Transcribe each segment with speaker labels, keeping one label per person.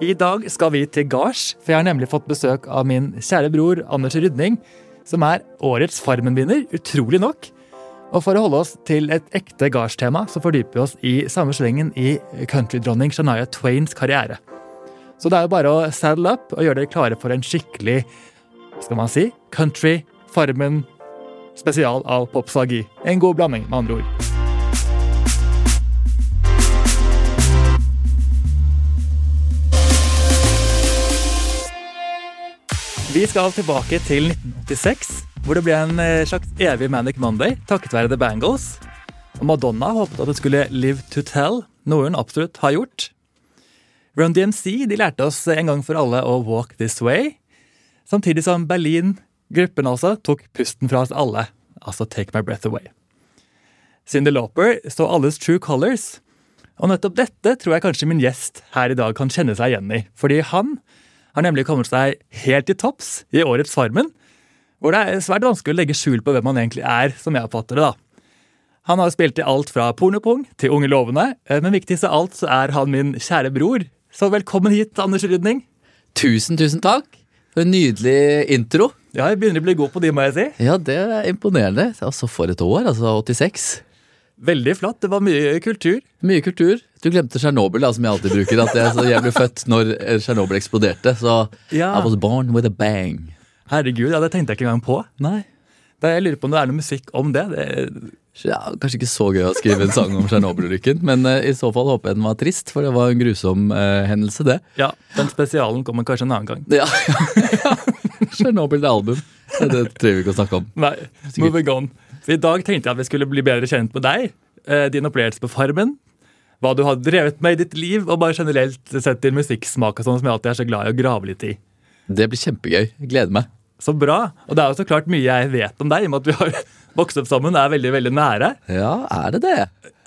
Speaker 1: I dag skal vi til gards, for jeg har nemlig fått besøk av min kjære bror Anders Rydning, som er årets Farmen-vinner, utrolig nok. Og for å holde oss til et ekte gardstema, så fordyper vi oss i samme slengen i countrydronning Shania Twains karriere. Så det er jo bare å saddle up og gjøre dere klare for en skikkelig, hva skal man si, country, Farmen, spesial av popsagi. En god blanding, med andre ord. Vi skal tilbake til 1986, hvor det ble en eh, slags evig Manic Monday takket være The Bangles. Og Madonna håpet at det skulle live to tell, noe hun absolutt har gjort. Run DMC de lærte oss en gang for alle å walk this way, samtidig som Berlin, gruppen altså, tok pusten fra oss alle, altså Take My Breath Away. Cyndi Lauper så alles true colors, og nettopp dette tror jeg kanskje min gjest her i dag kan kjenne seg igjen i, fordi han har nemlig kommet seg helt til topps i årets Farmen, hvor det er svært vanskelig å legge skjul på hvem han egentlig er, som jeg oppfatter det, da. Han har spilt i alt fra pornopung til Unge lovende, eh, men viktigst av alt så er han min kjære bror. Så velkommen hit, Anders Rydning.
Speaker 2: Tusen, tusen takk for en nydelig intro.
Speaker 1: Ja, jeg begynner å bli god på de, må jeg si.
Speaker 2: Ja, det er imponerende. Altså, for et år, altså 86.
Speaker 1: Veldig flatt. Det var mye kultur.
Speaker 2: Mye kultur. Du glemte Tsjernobyl, da, som jeg alltid bruker. At jeg, så jeg ble født når eh, Tsjernobyl eksploderte, så
Speaker 1: Ja.
Speaker 2: I was born with a bang.
Speaker 1: Herregud, ja, det tenkte jeg ikke engang på.
Speaker 2: Nei.
Speaker 1: Da jeg lurer på om det er noe musikk om det. det
Speaker 2: Ja, kanskje ikke så gøy å skrive en sang om Tsjernobyl-ulykken, men eh, i så fall håper jeg den var trist, for det var en grusom eh, hendelse, det.
Speaker 1: ja, Den spesialen kommer kanskje en annen gang.
Speaker 2: Ja. Tsjernobyl det er album. Det det trenger vi ikke å snakke om.
Speaker 1: Nei, moving on. Så I dag tenkte jeg at vi skulle bli bedre kjent med deg, eh, din opplevelse på Farmen, hva du har drevet med i ditt liv, og bare generelt sett din musikksmak og sånn, som jeg alltid er så glad i å grave litt i.
Speaker 2: Det blir kjempegøy. Jeg Gleder meg.
Speaker 1: Så bra. Og det er jo så klart mye jeg vet om deg, i og med at vi har vokst opp sammen, er veldig, veldig nære.
Speaker 2: Ja, er det det?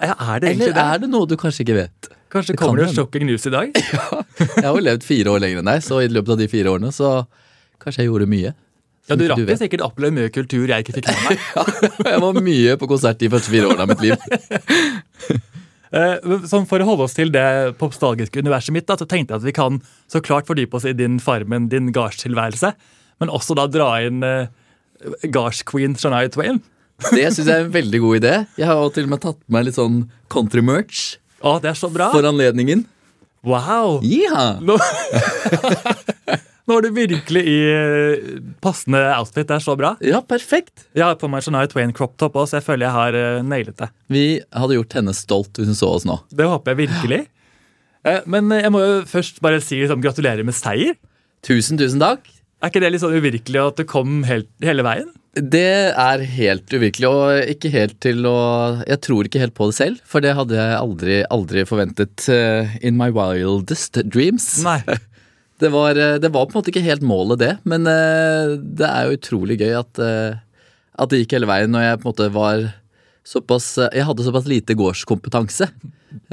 Speaker 1: Ja, er det egentlig
Speaker 2: Eller
Speaker 1: det?
Speaker 2: er det noe du kanskje ikke vet?
Speaker 1: Kanskje
Speaker 2: det kan
Speaker 1: kommer det
Speaker 2: hende.
Speaker 1: shocking news i dag?
Speaker 2: Jeg har jo levd fire år lenger enn deg, så i løpet av de fire årene så kanskje jeg gjorde mye.
Speaker 1: Ja, du
Speaker 2: Som ikke
Speaker 1: rakk jo
Speaker 2: vet.
Speaker 1: sikkert å oppleve mye kultur jeg ikke fikk med meg.
Speaker 2: Jeg var mye på konsert de første fire årene av mitt liv.
Speaker 1: Eh, men Sånn For å holde oss til det popstalgiske universet mitt, da, så tenkte jeg at vi kan så klart fordype oss i din Farmen, din gardstilværelse, men også da dra inn eh, gardsqueen Shania Twain.
Speaker 2: Det syns jeg er en veldig god idé. Jeg har jo til og med tatt med meg litt sånn country-merch
Speaker 1: Å, det er så bra!
Speaker 2: for anledningen.
Speaker 1: Wow!
Speaker 2: Jiha!
Speaker 1: Nå, Nå er du virkelig i eh, passende outfit. Det er så bra.
Speaker 2: Ja, perfekt.
Speaker 1: Jeg har på meg Shania Twain crop top også, så jeg føler jeg har eh, nailet det.
Speaker 2: Vi hadde gjort henne stolt hvis hun så oss nå.
Speaker 1: Det håper jeg virkelig. Eh, Men jeg må jo først bare si liksom, gratulerer med seier.
Speaker 2: Tusen, tusen takk.
Speaker 1: Er ikke det litt sånn uvirkelig at du kom helt, hele veien?
Speaker 2: Det er helt uvirkelig, og ikke helt til å Jeg tror ikke helt på det selv, for det hadde jeg aldri, aldri forventet. eh, in my wildest dreams.
Speaker 1: Nei.
Speaker 2: Det var, eh, det var på en måte ikke helt målet, det. Men eh, det er jo utrolig gøy at, eh, at det gikk hele veien når jeg på en måte var såpass eh, Jeg hadde såpass lite gårdskompetanse.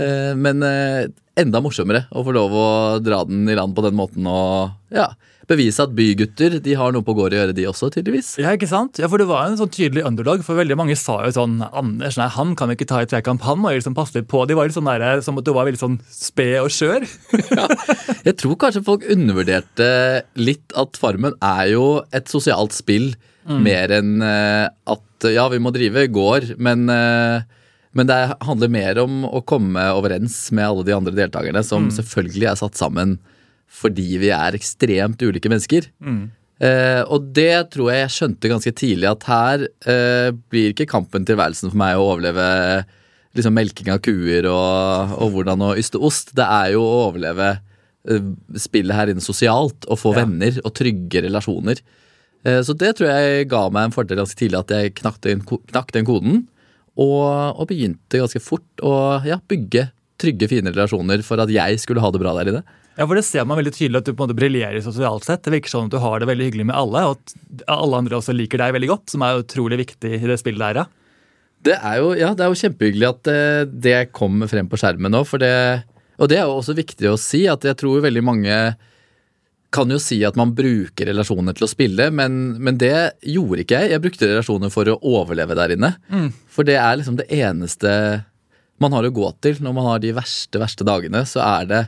Speaker 2: Eh, Men eh, enda morsommere å få lov å dra den i land på den måten og ja, bevise at bygutter de har noe på gård å gjøre, de også, tydeligvis.
Speaker 1: Ja, ikke sant? Ja, for det var en sånn tydelig underdog, for veldig mange sa jo sånn Anders, nei, han kan vi ikke ta i tvekamp, han må jo liksom passe litt på. De var litt sånn der, som at du var veldig sånn sped og skjør.
Speaker 2: Jeg tror kanskje folk undervurderte litt at Farmen er jo et sosialt spill mer enn eh, at ja, vi må drive gård, men, eh, men det handler mer om å komme overens med alle de andre deltakerne, som selvfølgelig er satt sammen fordi vi er ekstremt ulike mennesker. Eh, og det tror jeg jeg skjønte ganske tidlig, at her eh, blir ikke kampen tilværelsen for meg å overleve liksom melking av kuer og, og hvordan å yste ost. Det er jo å overleve eh, spillet her inne sosialt og få
Speaker 1: Ja.
Speaker 2: venner og trygge relasjoner. Eh, så det tror jeg ga meg en fordel ganske tidlig, at jeg knakk den, ko- knakk den koden. Og, og begynte ganske fort å ja, bygge trygge, fine relasjoner for at jeg skulle ha det bra der inne.
Speaker 1: Ja, for det ser man veldig tydelig at du på en måte briljerer sosialt sett. Det virker sånn at du har det veldig hyggelig med alle, og at alle andre også liker deg veldig godt, som er utrolig viktig i det spillet der, ja.
Speaker 2: Det er jo, ja, det er jo kjempehyggelig at det, det kom frem på skjermen nå, for det Og det er jo også viktig å si, at jeg tror veldig mange kan jo si at man bruker relasjoner til å spille, men, men det gjorde ikke jeg. Jeg brukte relasjoner for å overleve der inne. For det er liksom det eneste man har å gå til når man har de verste, verste dagene. Så er det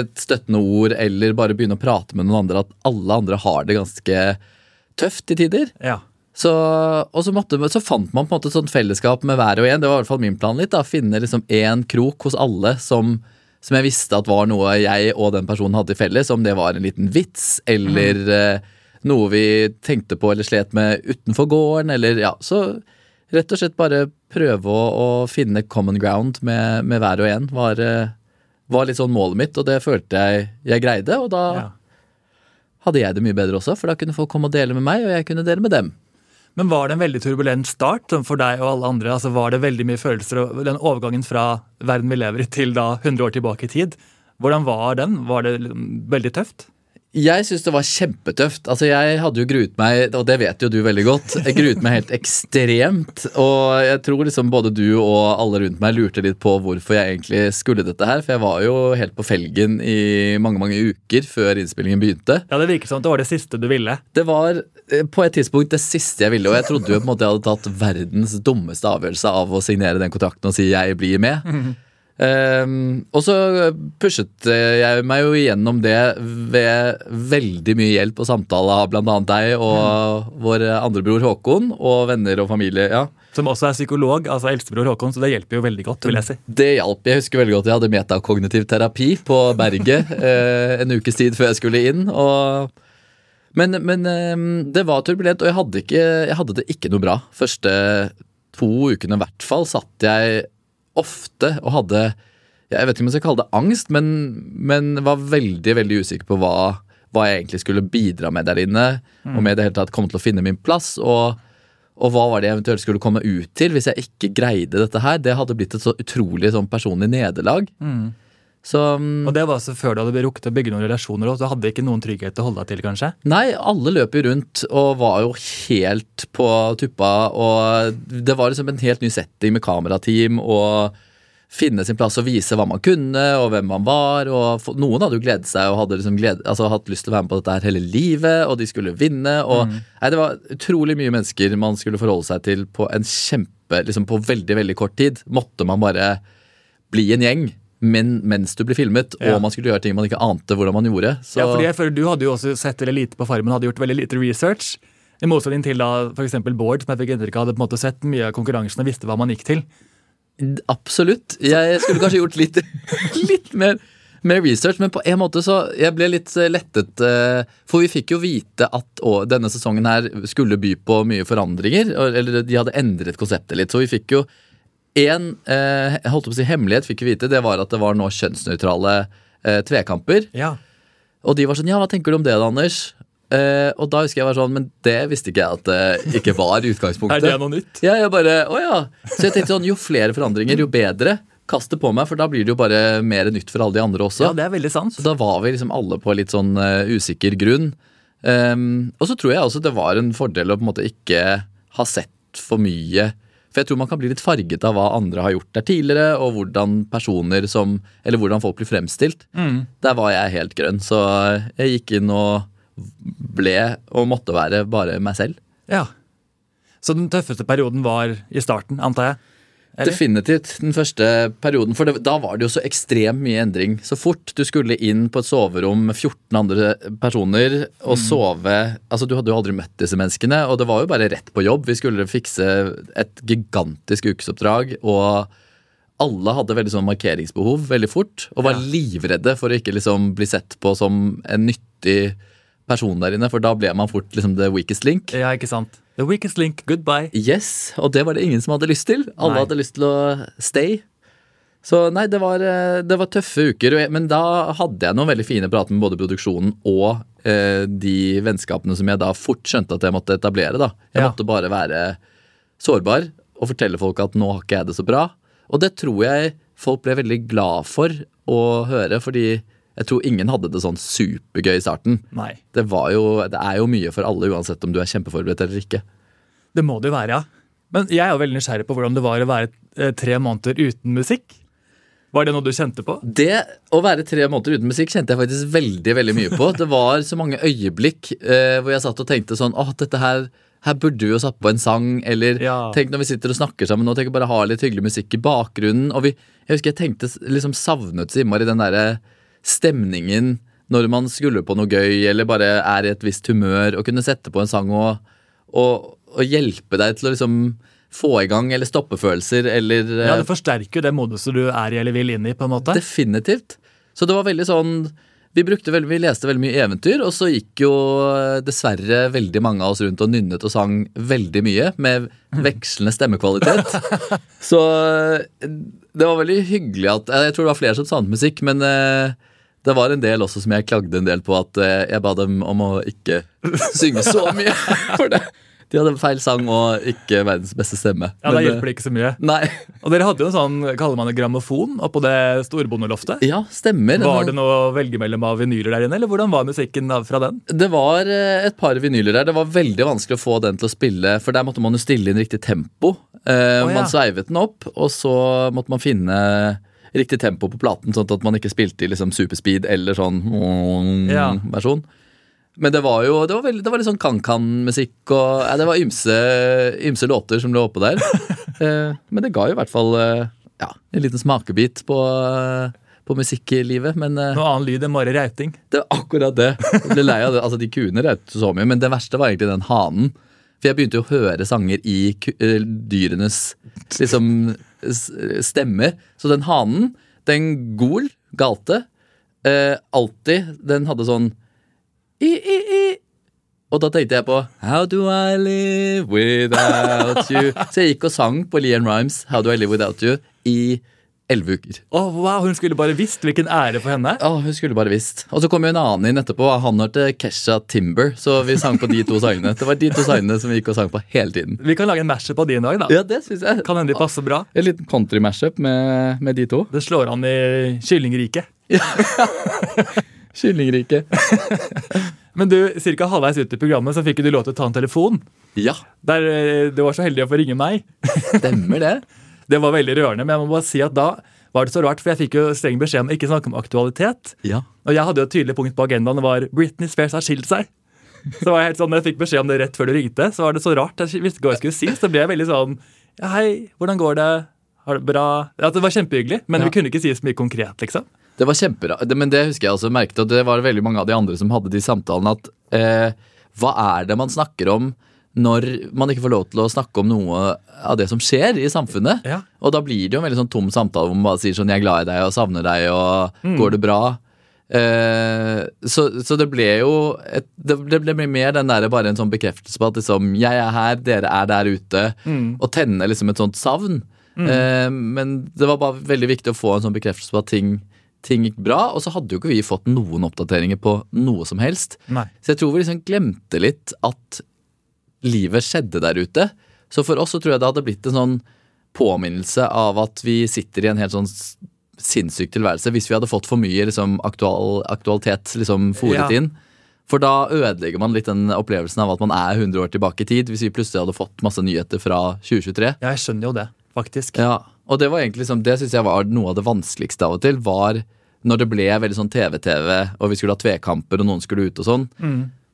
Speaker 2: et støttende ord eller bare begynne å prate med noen andre, at alle andre har det ganske tøft til tider.
Speaker 1: Ja.
Speaker 2: Så, og så, måtte, så fant man på en måte et sånt fellesskap med hver og en. Det var i hvert fall min plan litt. da, Finne liksom én krok hos alle som, som jeg visste at var noe jeg og den personen hadde i felles. Om det var en liten vits eller eh, noe vi tenkte på eller slet med utenfor gården. Eller, ja, så rett og slett bare prøve å, å finne common ground med, med hver og en var, eh, var litt sånn målet mitt, og det følte jeg jeg greide. Og da
Speaker 1: ja.
Speaker 2: hadde jeg det mye bedre også, for da kunne folk komme og dele med meg, og jeg kunne dele med dem.
Speaker 1: Men var det en veldig turbulent start sånn for deg og alle andre? Altså, var det veldig mye følelser og den overgangen fra verden vi lever i til da 100 år tilbake i tid? Hvordan var den? Var det liksom veldig tøft?
Speaker 2: Jeg syns det var kjempetøft. Altså, jeg hadde jo gruet meg, og det vet jo du veldig godt. Jeg gruet meg helt ekstremt. Og jeg tror liksom både du og alle rundt meg lurte litt på hvorfor jeg egentlig skulle dette her. For jeg var jo helt på felgen i mange, mange uker før innspillingen begynte.
Speaker 1: Ja, Det virket som at det var det siste du ville.
Speaker 2: Det var eh, på et tidspunkt det siste jeg ville, og jeg trodde jo på en måte jeg hadde tatt verdens dummeste avgjørelse av å signere den kontrakten og si jeg blir med. Ehm, og så pushet eh, jeg meg jo igjennom det ved veldig mye hjelp og samtale av bl.a. deg og vår andre bror Håkon og venner og familie. ja.
Speaker 1: Som også er psykolog, altså eldstebror Håkon, så det hjelper jo veldig godt. vil jeg si.
Speaker 2: Det hjalp. Jeg husker veldig godt jeg hadde metakognitiv terapi på berget eh, en ukes tid før jeg skulle inn. Og, men men eh, det var turbulent, og jeg hadde, ikke, jeg hadde det ikke noe bra. Første to ukene i hvert fall satt jeg ofte og hadde Jeg vet ikke om jeg skal kalle det angst, men, men var veldig veldig usikker på hva, hva jeg egentlig skulle bidra med der inne. Om jeg i det hele tatt kom til å finne min plass. og og hva var det jeg eventuelt skulle komme ut til hvis jeg ikke greide dette her? Det hadde blitt et så utrolig sånn personlig nederlag. Så mm,
Speaker 1: Og det var også før du hadde rukket å bygge noen relasjoner òg, så du hadde ikke noen trygghet å holde deg til, kanskje?
Speaker 2: Nei, alle løp jo rundt og var jo helt på tuppa. Og det var liksom en helt ny setting med kamerateam og finne sin plass og vise hva man kunne og hvem man var. Og få- noen hadde jo gledet seg og hadde liksom gled, altså hatt lyst til å være med på dette her hele livet, og de skulle vinne. Og
Speaker 1: Mm.
Speaker 2: nei, det var utrolig mye mennesker man skulle forholde seg til på en kjempe, liksom på veldig, veldig kort tid. Måtte man bare bli en gjeng. Men mens du ble filmet,
Speaker 1: Ja.
Speaker 2: og man skulle gjøre ting man ikke ante hvordan man gjorde. Så,
Speaker 1: Ja, fordi jeg føler Du hadde jo også sett veldig lite på Farmen, hadde gjort veldig lite research. I motsetning til da for eksempel Bård, som jeg fikk inntrykk av hadde på en måte sett mye av konkurransen og visste hva man gikk til.
Speaker 2: Absolutt. Jeg skulle kanskje gjort litt, litt mer, mer research, men på en måte så Jeg ble litt eh, lettet, eh, for vi fikk jo vite at å, denne sesongen her skulle by på mye forandringer. og- Eller de hadde endret konseptet litt, så vi fikk jo én eh, jeg holdt på å si hemmelighet fikk vi vite. Det var at det var nå kjønnsnøytrale eh, tvekamper.
Speaker 1: Ja,
Speaker 2: Og de var sånn Ja, hva tenker du om det da, Anders? Eh, og da husker jeg var sånn Men det visste ikke jeg at det ikke var utgangspunktet.
Speaker 1: Er det noe nytt?
Speaker 2: Ja, jeg bare, å ja. Så jeg tenkte sånn, jo flere forandringer, jo bedre. Kast det på meg, for da blir det jo bare mer nytt for alle de andre også.
Speaker 1: Ja, det er veldig sant.
Speaker 2: Så da var vi liksom alle på litt sånn eh, usikker grunn. Ehm, og så tror jeg også det var en fordel å på en måte ikke ha sett for mye. For jeg tror man kan bli litt farget av hva andre har gjort der tidligere, og hvordan personer som, eller hvordan folk blir fremstilt.
Speaker 1: Mm.
Speaker 2: Der var jeg helt grønn, så jeg gikk inn og ble, og måtte være, bare meg selv.
Speaker 1: Ja. Så den tøffeste perioden var i starten, antar jeg? Eller?
Speaker 2: Definitivt den første perioden. For det, da var det jo så ekstremt mye endring. Så fort du skulle inn på et soverom med 14 andre personer og sove Altså, du hadde jo aldri møtt disse menneskene, og det var jo bare rett på jobb. Vi skulle fikse et gigantisk ukesoppdrag, og alle hadde veldig sånn markeringsbehov veldig fort. Og var livredde for å ikke liksom bli sett på som en nyttig person der inne, for da ble man fort liksom the weakest link.
Speaker 1: Ja, ikke sant. The weakest link, goodbye.
Speaker 2: Yes, og det var det ingen som hadde lyst til. Alle
Speaker 1: Nei.
Speaker 2: hadde lyst til å stay. Så nei, det var, eh, det var tøffe uker. og jeg- Men da hadde jeg noen veldig fine prater med både produksjonen og eh, de vennskapene som jeg da fort skjønte at jeg måtte etablere. da. Jeg
Speaker 1: Ja.
Speaker 2: måtte bare være sårbar og fortelle folk at nå har ikke jeg det så bra. Og det tror jeg folk ble veldig glad for å høre, fordi jeg tror ingen hadde det sånn supergøy i starten.
Speaker 1: Nei.
Speaker 2: Det, var jo, det er jo mye for alle, uansett om du er kjempeforberedt eller ikke.
Speaker 1: Det må det jo være, ja. Men jeg er jo veldig nysgjerrig på hvordan det var å være eh, tre måneder uten musikk. Var det noe du kjente på?
Speaker 2: Det å være tre måneder uten musikk kjente jeg faktisk veldig veldig mye på. Det var så mange øyeblikk eh, hvor jeg satt og tenkte sånn Åh, dette her her burde vi jo satt på en sang, eller
Speaker 1: Ja.
Speaker 2: tenk når vi sitter og snakker sammen nå, tenk å bare ha litt hyggelig musikk i bakgrunnen. Og vi, jeg husker jeg tenkte s- liksom savnet så innmari den derre stemningen når man skulle på noe gøy, eller bare er i et visst humør, og kunne sette på en sang og, og, og hjelpe deg til å liksom få i gang, eller stoppe følelser, eller
Speaker 1: Ja,
Speaker 2: eh,
Speaker 1: Det forsterker jo det moduset du er i eller vil inn i. på en måte.
Speaker 2: Definitivt. Så det var veldig sånn vi, brukte veldig, vi leste veldig mye eventyr, og så gikk jo eh, dessverre veldig mange av oss rundt og nynnet og sang veldig mye, med
Speaker 1: Mhm.
Speaker 2: vekslende stemmekvalitet. så eh, det var veldig hyggelig at eh, Jeg tror det var flere som savnet musikk, men eh, det var en del også som jeg klagde en del på at eh, jeg ba dem om å ikke synge så mye. For det. de hadde feil sang og ikke verdens beste stemme. eh,
Speaker 1: Ja, Da hjelper det ikke så mye.
Speaker 2: Nei.
Speaker 1: Og Dere hadde jo en sånn kaller man det grammofon oppå det storbondeloftet.
Speaker 2: Ja, stemmer.
Speaker 1: Var det noe å velge mellom av vinyler der inne, eller hvordan var musikken av- fra den?
Speaker 2: Det var eh, et par vinyler der. Det var veldig vanskelig å få den til å spille, for der måtte man jo stille inn riktig tempo. Eh,
Speaker 1: Å, ja.
Speaker 2: Man sveivet den opp, og så måtte man finne riktig tempo på platen, sånn at man ikke spilte i liksom superspeed eller sånn
Speaker 1: Ja.
Speaker 2: versjon. Men det var jo det var, veldig, det var litt sånn kan-kan-musikk og ja, Det var ymse, ymse låter som lå oppå der. Eh, men det ga jo i hvert fall eh, ja, en liten smakebit på, eh, på musikklivet. Men eh,
Speaker 1: Noe annen lyd enn Mari Rauting.
Speaker 2: det var akkurat det. Jeg ble lei av det. Altså, de kuene rautet så mye, men det verste var egentlig den hanen. For jeg begynte jo å høre sanger i ku eh, dyrenes liksom, s- stemmer. Så den hanen, den gol, galte, eh, alltid Den hadde sånn i, i, i. Og da tenkte jeg på How do I live without you? Så jeg gikk og sang på Lian Rhymes How do I live without you i elleve uker.
Speaker 1: Å, wow, Hun skulle bare visst hvilken ære for henne.
Speaker 2: Ja, hun skulle bare visst. Og så kom jo en annen inn etterpå. og Han hørte Kesha Timber, så vi sang på de to sangene. Det var de to sangene som vi gikk og sang på hele tiden.
Speaker 1: Vi kan lage en mashup av de en dag. da.
Speaker 2: Ja, det synes jeg.
Speaker 1: Kan hende de passer bra.
Speaker 2: En liten country-mashup med, med de to.
Speaker 1: Det slår an i kyllingriket.
Speaker 2: Kyllingrike.
Speaker 1: Men du, cirka halvveis ut i programmet så fikk du lov til å ta en telefon.
Speaker 2: Ja,
Speaker 1: Der eh, Du var så heldig å få ringe meg.
Speaker 2: stemmer det.
Speaker 1: Det var veldig rørende, men jeg må bare si at da var det så rart, for jeg fikk jo streng beskjed om å ikke snakke om aktualitet.
Speaker 2: Ja.
Speaker 1: Og jeg hadde jo et tydelig punkt på agendaen, det var Britney Spears har skilt seg. Så var jeg helt sånn, når jeg fikk beskjed om det rett før du ringte, så var det så rart. Jeg visste ikke hva jeg skulle si, så ble jeg veldig sånn ja, Hei, hvordan går det? Har det bra? Ja, det var kjempehyggelig, men
Speaker 2: Ja.
Speaker 1: vi kunne ikke si så mye konkret, liksom.
Speaker 2: Det var kjempebra. Det- Men det husker jeg også merket, og det var veldig mange av de andre som hadde de samtalene, at eh, hva er det man snakker om når man ikke får lov til å snakke om noe av det som skjer i samfunnet?
Speaker 1: Ja.
Speaker 2: Og da blir det jo en veldig sånn tom samtale hvor man bare sier sånn 'jeg er glad i deg' og 'savner deg' og 'går det bra'? Eh, så, så det ble jo et, det, det ble mer den der, bare en sånn bekreftelse på at liksom 'jeg er her, dere er der ute',
Speaker 1: Mm.
Speaker 2: og tenne liksom et sånt savn. Eh, men det var bare veldig viktig å få en sånn bekreftelse på at ting, ting gikk bra. Og så hadde jo ikke vi fått noen oppdateringer på noe som helst.
Speaker 1: Nei.
Speaker 2: Så jeg tror vi liksom glemte litt at livet skjedde der ute. Så for oss så tror jeg det hadde blitt en sånn påminnelse av at vi sitter i en helt sånn s- sinnssyk tilværelse hvis vi hadde fått for mye liksom, aktual, aktualitet liksom, fòret
Speaker 1: Ja.
Speaker 2: inn. For da ødelegger man litt den opplevelsen av at man er 100 år tilbake i tid, hvis vi plutselig hadde fått masse nyheter fra 2023.
Speaker 1: Ja, jeg skjønner jo det, faktisk.
Speaker 2: Ja, og det var egentlig liksom, det synes jeg var noe av det vanskeligste av og til, var når det ble veldig sånn TV-TV, og vi skulle ha tvekamper, og noen skulle ut og sånn.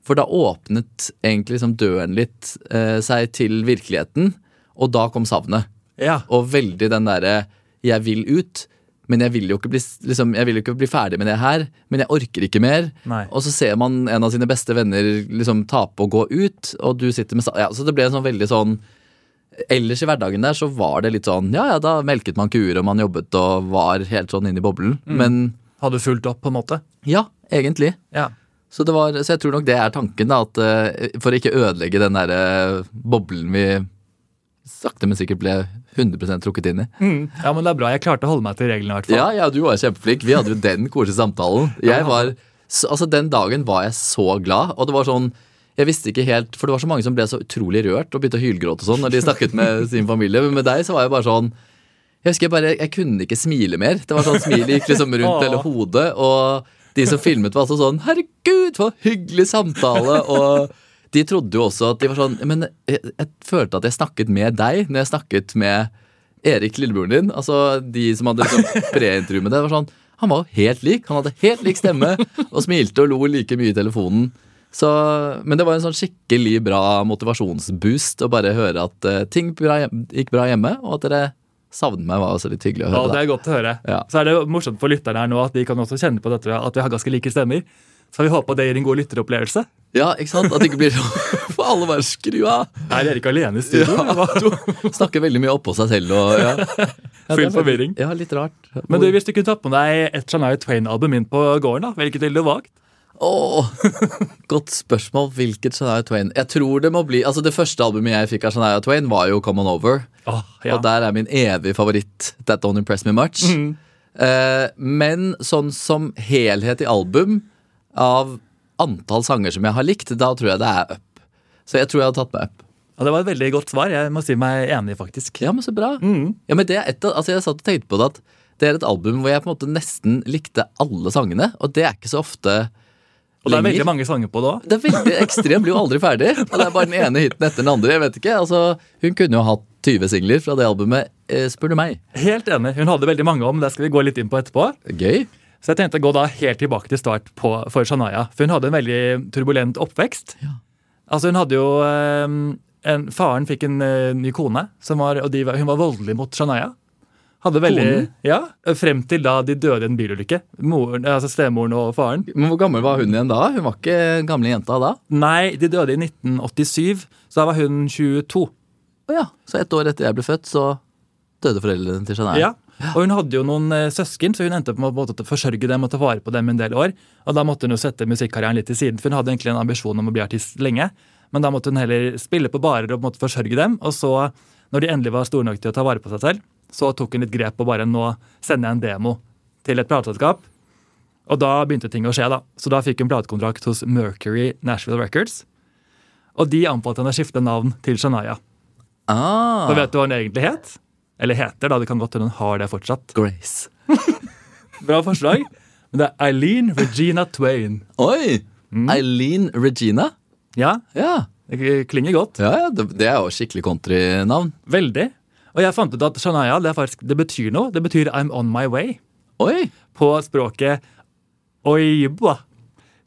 Speaker 2: For da åpnet egentlig liksom døren litt eh, seg til virkeligheten, og da kom savnet.
Speaker 1: Ja.
Speaker 2: Og veldig den derre 'jeg vil ut', men jeg vil jo ikke bli, s- liksom, jeg vil jo ikke bli ferdig med det her. Men jeg orker ikke mer.
Speaker 1: Nei.
Speaker 2: Og så ser man en av sine beste venner liksom tape og gå ut, og du sitter med sa- ja, Så det ble en sånn veldig sånn Ellers i hverdagen der så var det litt sånn Ja ja, da melket man kuer, og man jobbet og var helt sånn inne i boblen. Men
Speaker 1: Hadde fulgt opp, på en måte.
Speaker 2: ja, egentlig.
Speaker 1: Ja.
Speaker 2: Så, det var, så jeg tror nok det er tanken, da. At, eh, for ikke ødelegge den der eh, boblen vi sakte, men sikkert ble 100 trukket inn i.
Speaker 1: ja, men det er bra. Jeg klarte å holde meg til reglene, i hvert fall.
Speaker 2: Ja, ja, du var kjempeflink. Vi hadde jo den koselige samtalen. Jeg var, så, altså Den dagen var jeg så glad, og det var sånn jeg visste ikke helt, for Det var så mange som ble så utrolig rørt og begynte å hylgråte og sånn når de snakket med sin familie. Men med deg så var jeg bare sånn Jeg husker jeg bare, jeg kunne ikke smile mer. Det var sånn Smilet gikk liksom rundt hele hodet. Og de som filmet, var altså sånn Herregud, for en hyggelig samtale! Og de trodde jo også at de var sånn Men jeg, jeg følte at jeg snakket med deg når jeg snakket med Erik, lillebroren din. Altså de som hadde liksom pre-intervju med deg. var sånn, Han var jo helt lik. Han hadde helt lik stemme og smilte og lo like mye i telefonen. Så, men det var en sånn skikkelig bra motivasjonsboost å bare høre at eh, ting bra, hjem- gikk bra hjemme, og at dere savner meg, var også litt hyggelig å
Speaker 1: Ja,
Speaker 2: høre.
Speaker 1: det
Speaker 2: da.
Speaker 1: er godt å høre.
Speaker 2: Ja.
Speaker 1: Så er det morsomt for lytterne her nå at de kan også kjenne på dette at vi har ganske like stemmer. Så vi håper det gir en god lytteropplevelse.
Speaker 2: Ja, ikke sant? At det ikke blir sånn For alle bare skru av!
Speaker 1: Nei, dere er ikke alene i studio.
Speaker 2: Snakker veldig mye oppå seg selv og ja.
Speaker 1: Full
Speaker 2: ja. det er veldig-
Speaker 1: forvirring.
Speaker 2: Ja, litt rart.
Speaker 1: Men du, hvis du kunne tatt med deg et Shania Twain-album inn på gården, da, hvilket ville du valgt?
Speaker 2: Åh, Godt spørsmål. Hvilket Shania Twain? Jeg tror Det må bli, altså det første albumet jeg fikk av Shania Twain, var jo Come On Over.
Speaker 1: Åh, ja.
Speaker 2: Og der er min evige favoritt That Don't Impress Me Much.
Speaker 1: Mhm.
Speaker 2: Eh, men sånn som helhet i album, av antall sanger som jeg har likt, da tror jeg det er Up. Så jeg tror jeg hadde tatt med Up.
Speaker 1: Ja, det var et veldig godt svar. Jeg må si meg enig, faktisk. Mm.
Speaker 2: Ja, men så bra. Ja, men det er et, av- altså jeg satt og tenkte på det at det er et album hvor jeg på en måte nesten likte alle sangene, og det er ikke så ofte
Speaker 1: Og det er
Speaker 2: lenger.
Speaker 1: veldig mange sanger på det òg.
Speaker 2: Det er veldig ekstrem, blir jo aldri ferdig. Og det er bare den ene hiten etter den andre. jeg vet ikke, altså Hun kunne jo hatt 20 singler fra det albumet, eh, spør du meg.
Speaker 1: Helt enig. Hun hadde veldig mange om, det skal vi gå litt inn på etterpå.
Speaker 2: Gøy.
Speaker 1: Så jeg tenkte å gå da helt tilbake til start på, for Shania. For hun hadde en veldig turbulent oppvekst.
Speaker 2: Ja.
Speaker 1: Altså Hun hadde jo eh, en, Faren fikk en eh, ny kone, som var, og de, var- hun var voldelig mot Shania. Hadde veldig,
Speaker 2: Konen?
Speaker 1: ja, Frem til da de døde i en bilulykke. Moren, altså Stemoren og faren.
Speaker 2: Men hvor gammel var hun igjen da? Hun var ikke den gamle jenta da?
Speaker 1: Nei, de døde i 1987, så da var hun 22.
Speaker 2: Å ja, Så ett år etter jeg ble født, så døde foreldrene til Shania.
Speaker 1: Ja. Og hun hadde jo noen eh, søsken, så hun endte på en måte å forsørge dem og ta vare på dem en del år. Og da måtte hun jo sette musikkarrieren litt til siden, for hun hadde egentlig en ambisjon om å bli artist lenge. Men da måtte hun heller spille på barer og på en måte forsørge dem. Og så, når de endelig var store nok til å ta vare på seg selv, så tok hun litt grep og bare nå sender jeg en demo til et plateselskap. Og da begynte ting å skje, da. Så da fikk hun platekontrakt hos Mercury Nashville Records. Og de anbefalte henne å skifte navn til Shania.
Speaker 2: Ah,
Speaker 1: Og vet du hva hun egentlig het? Eller heter, da. Det kan godt hende hun har det fortsatt.
Speaker 2: Grace.
Speaker 1: Bra forslag. Men det er Eileen Regina Twain.
Speaker 2: Oi!
Speaker 1: Mm.
Speaker 2: Eileen Regina.
Speaker 1: Ja,
Speaker 2: Ja,
Speaker 1: det klinger godt.
Speaker 2: ja, ja det, det er jo skikkelig countrynavn.
Speaker 1: Veldig. Og jeg fant ut at Shania det, er faktisk, det betyr noe. Det betyr I'm on my way.
Speaker 2: Oi!
Speaker 1: På språket oiba,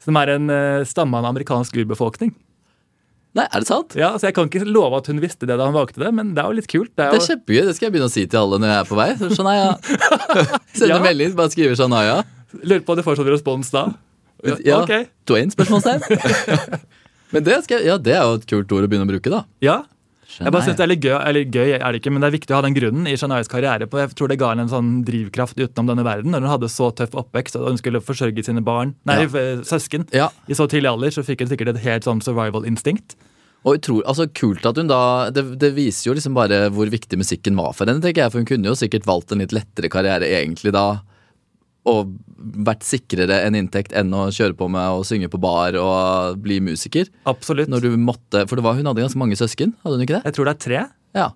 Speaker 1: som er en eh, stamme av en amerikansk urbefolkning.
Speaker 2: Nei, er det sant?
Speaker 1: Ja, så Jeg kan ikke love at hun visste det da hun valgte det, men det er jo litt kult. Det er
Speaker 2: Det
Speaker 1: jo,
Speaker 2: er kjempegøy. Det skal jeg begynne å si til alle når jeg er på vei. Så Shania. Sende
Speaker 1: Ja.
Speaker 2: melding, bare skriver Shania.
Speaker 1: Lurer på om du får sånn respons da.
Speaker 2: Ja,
Speaker 1: Ok.
Speaker 2: Twain? spørsmålstegn Men det, skal, ja, det er jo et kult ord å begynne å bruke, da.
Speaker 1: Ja, Jeg bare synes det er litt gøy, eller gøy er det ikke, men det er viktig å ha den grunnen i Shanais karriere. på. Jeg tror det ga henne en sånn drivkraft utenom denne verden. Når hun hadde så tøff oppvekst og hun skulle forsørge sine barn, nei,
Speaker 2: Ja.
Speaker 1: f- søsken
Speaker 2: Ja,
Speaker 1: i så tidlig alder, så fikk hun sikkert et helt sånn survival-instinkt.
Speaker 2: og utro- altså Kult at hun da det, det viser jo liksom bare hvor viktig musikken var for henne, tenker jeg. For hun kunne jo sikkert valgt en litt lettere karriere egentlig da. Og vært sikrere en inntekt enn å kjøre på med å synge på bar og bli musiker.
Speaker 1: Absolutt.
Speaker 2: Når du måtte, For det var, hun hadde ganske mange søsken, hadde hun ikke det?
Speaker 1: Jeg tror det er tre.
Speaker 2: Ja.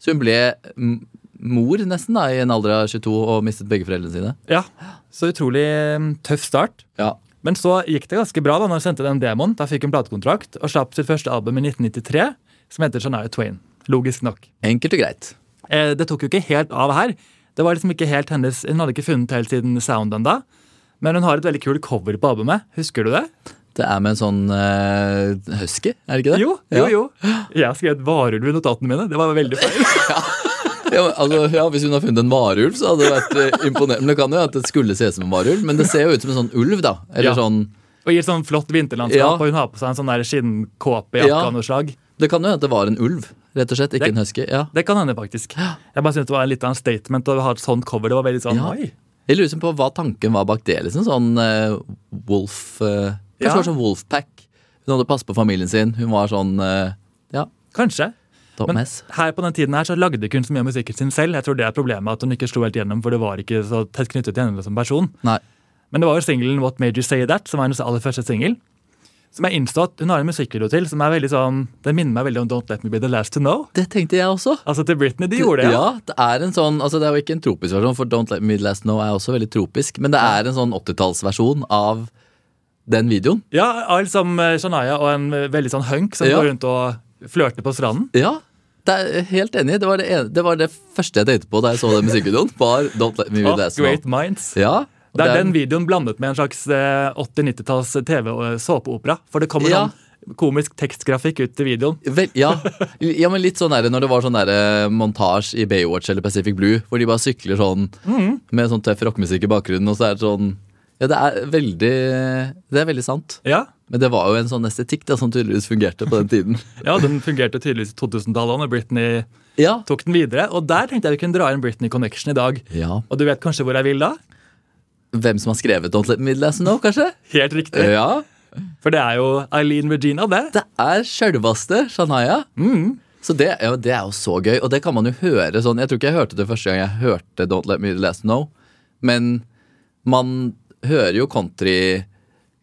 Speaker 2: Så hun ble m mor nesten da, i en alder av 22 og mistet begge foreldrene sine.
Speaker 1: Ja, Så utrolig mm, tøff start.
Speaker 2: Ja.
Speaker 1: Men så gikk det ganske bra da når hun sendte den demoen. Da fikk hun platekontrakt og slapp sitt første album i 1993, som heter Shania Twain. Logisk nok.
Speaker 2: Enkelt og greit.
Speaker 1: Eh, det tok jo ikke helt av her. Det var liksom ikke helt hennes, Hun hadde ikke funnet helt siden Sound enda. Men hun har et veldig kul cover på albumet. Husker du det?
Speaker 2: Det er med en sånn eh, husky, er det ikke det?
Speaker 1: Jo, jo, jo. Jeg har skrevet varulv i notatene mine. Det var veldig feil.
Speaker 2: Ja. Ja, men altså, ja, Hvis hun har funnet en varulv, så hadde det vært eh, imponerende. Men det kan jo at det skulle se ut som en varulv, men det ser jo ut som en sånn ulv, da. Eller
Speaker 1: Ja.
Speaker 2: sånn,
Speaker 1: Og i et sånn flott vinterlandskap,
Speaker 2: Ja.
Speaker 1: og hun har på seg en sånn der skinnkåpejakke
Speaker 2: Ja.
Speaker 1: av noe slag.
Speaker 2: Det kan jo hende at det var en ulv, rett og slett. Ikke
Speaker 1: Det-
Speaker 2: en husky. ja.
Speaker 1: Det kan hende, faktisk. Jeg bare syntes det var litt av en statement å ha et sånt cover. Det var veldig sånn,
Speaker 2: Ja.
Speaker 1: oi.
Speaker 2: Jeg lurer liksom på hva tanken var bak det. liksom Sånn eh, wolf eh, Kanskje
Speaker 1: Ja.
Speaker 2: det var sånn wolfpack. Hun hadde passet på familien sin. Hun var sånn eh, ja,
Speaker 1: Kanskje.
Speaker 2: top
Speaker 1: Men
Speaker 2: mess.
Speaker 1: her på den tiden her så lagde ikke hun så mye av musikken sin selv. Jeg tror det er problemet at hun ikke slo helt gjennom, for det var ikke så tett knyttet til henne som person.
Speaker 2: Nei.
Speaker 1: Men det var jo singelen What Made You Say That, som var hennes aller første singel. Som jeg innså at hun har en musikkvideo til som er veldig sånn, den minner meg veldig om Don't Let Me Be The Last To Know.
Speaker 2: Det tenkte jeg også.
Speaker 1: Altså til Britney, de gjorde det.
Speaker 2: Ja, det er en sånn, altså det er jo ikke en tropisk versjon, for Don't Let Me Last Know er også veldig tropisk, men det er en sånn 80-tallsversjon av den videoen.
Speaker 1: ja all som eh, Shania og en eh, veldig sånn hunk som
Speaker 2: Ja.
Speaker 1: går rundt og flørter på stranden.
Speaker 2: Ja, det er helt enig. Det var det, ene, det var det første jeg tenkte på da jeg så den musikkvideoen, var Don't Let Me
Speaker 1: Oh,
Speaker 2: Last
Speaker 1: great
Speaker 2: Know.
Speaker 1: minds.
Speaker 2: Ja, og
Speaker 1: Det er
Speaker 2: den-
Speaker 1: eh, den videoen blandet med en slags eh, 80-90-talls TV- og såpeopera. For det kommer
Speaker 2: Ja.
Speaker 1: sånn komisk tekstgrafikk ut til videoen.
Speaker 2: Vel, ja. ja, men litt sånn der, når det var sånn der, eh, montasje i Baywatch eller Pacific Blue, hvor de bare sykler sånn med sånn tøff rockemusikk i bakgrunnen, og så er det sånn Ja, det er veldig Det er veldig sant.
Speaker 1: Ja,
Speaker 2: Men det var jo en sånn estetikk da, som tydeligvis fungerte på den tiden.
Speaker 1: ja den fungerte tydeligvis i 2000-tallet også, når Britney
Speaker 2: Ja.
Speaker 1: tok den videre. Og der tenkte jeg vi kunne dra inn Britney Connection i dag.
Speaker 2: ja.
Speaker 1: Og du vet kanskje hvor jeg vil da?
Speaker 2: Hvem som har skrevet Don't Let Me Last Know, kanskje?
Speaker 1: Helt riktig.
Speaker 2: Ja. Eh.
Speaker 1: For det er jo Eileen Regina, det.
Speaker 2: Det er sjølveste Shania.
Speaker 1: Mm.
Speaker 2: Så det, ja, det er jo så gøy, og det kan man jo høre sånn. Jeg tror ikke jeg hørte det første gang jeg hørte Don't Let Me Last Know, men man hører jo country-koringen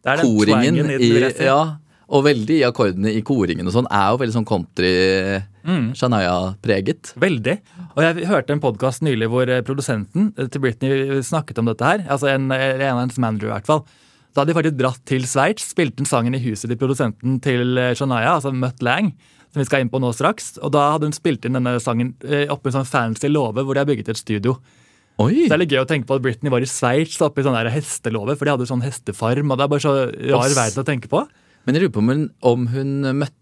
Speaker 1: Det er den twangen i, den, vil jeg si.
Speaker 2: ja, Og veldig i akkordene i koringen og sånn er jo veldig sånn
Speaker 1: Mm.
Speaker 2: country-Shania-preget.
Speaker 1: Veldig. Og jeg hørte en podkast nylig hvor eh, produsenten eh, til Britney snakket om dette her. Altså en, eller en av hennes manager i hvert fall. Da hadde de faktisk dratt til Sveits, spilte den sangen i huset til produsenten til eh, Shania, altså Mutt Lang, som vi skal inn på nå straks. Og da hadde hun spilt inn denne sangen eh, oppe i en sånn fancy låve hvor de har bygget et studio.
Speaker 2: Oi!
Speaker 1: Så det er litt gøy å tenke på at Britney var i Sveits da, oppe i sånn der hestelåve, for de hadde sånn hestefarm, og det er bare så rar
Speaker 2: Oss.
Speaker 1: verden å tenke på.
Speaker 2: Men jeg lurer på om hun, om hun møtte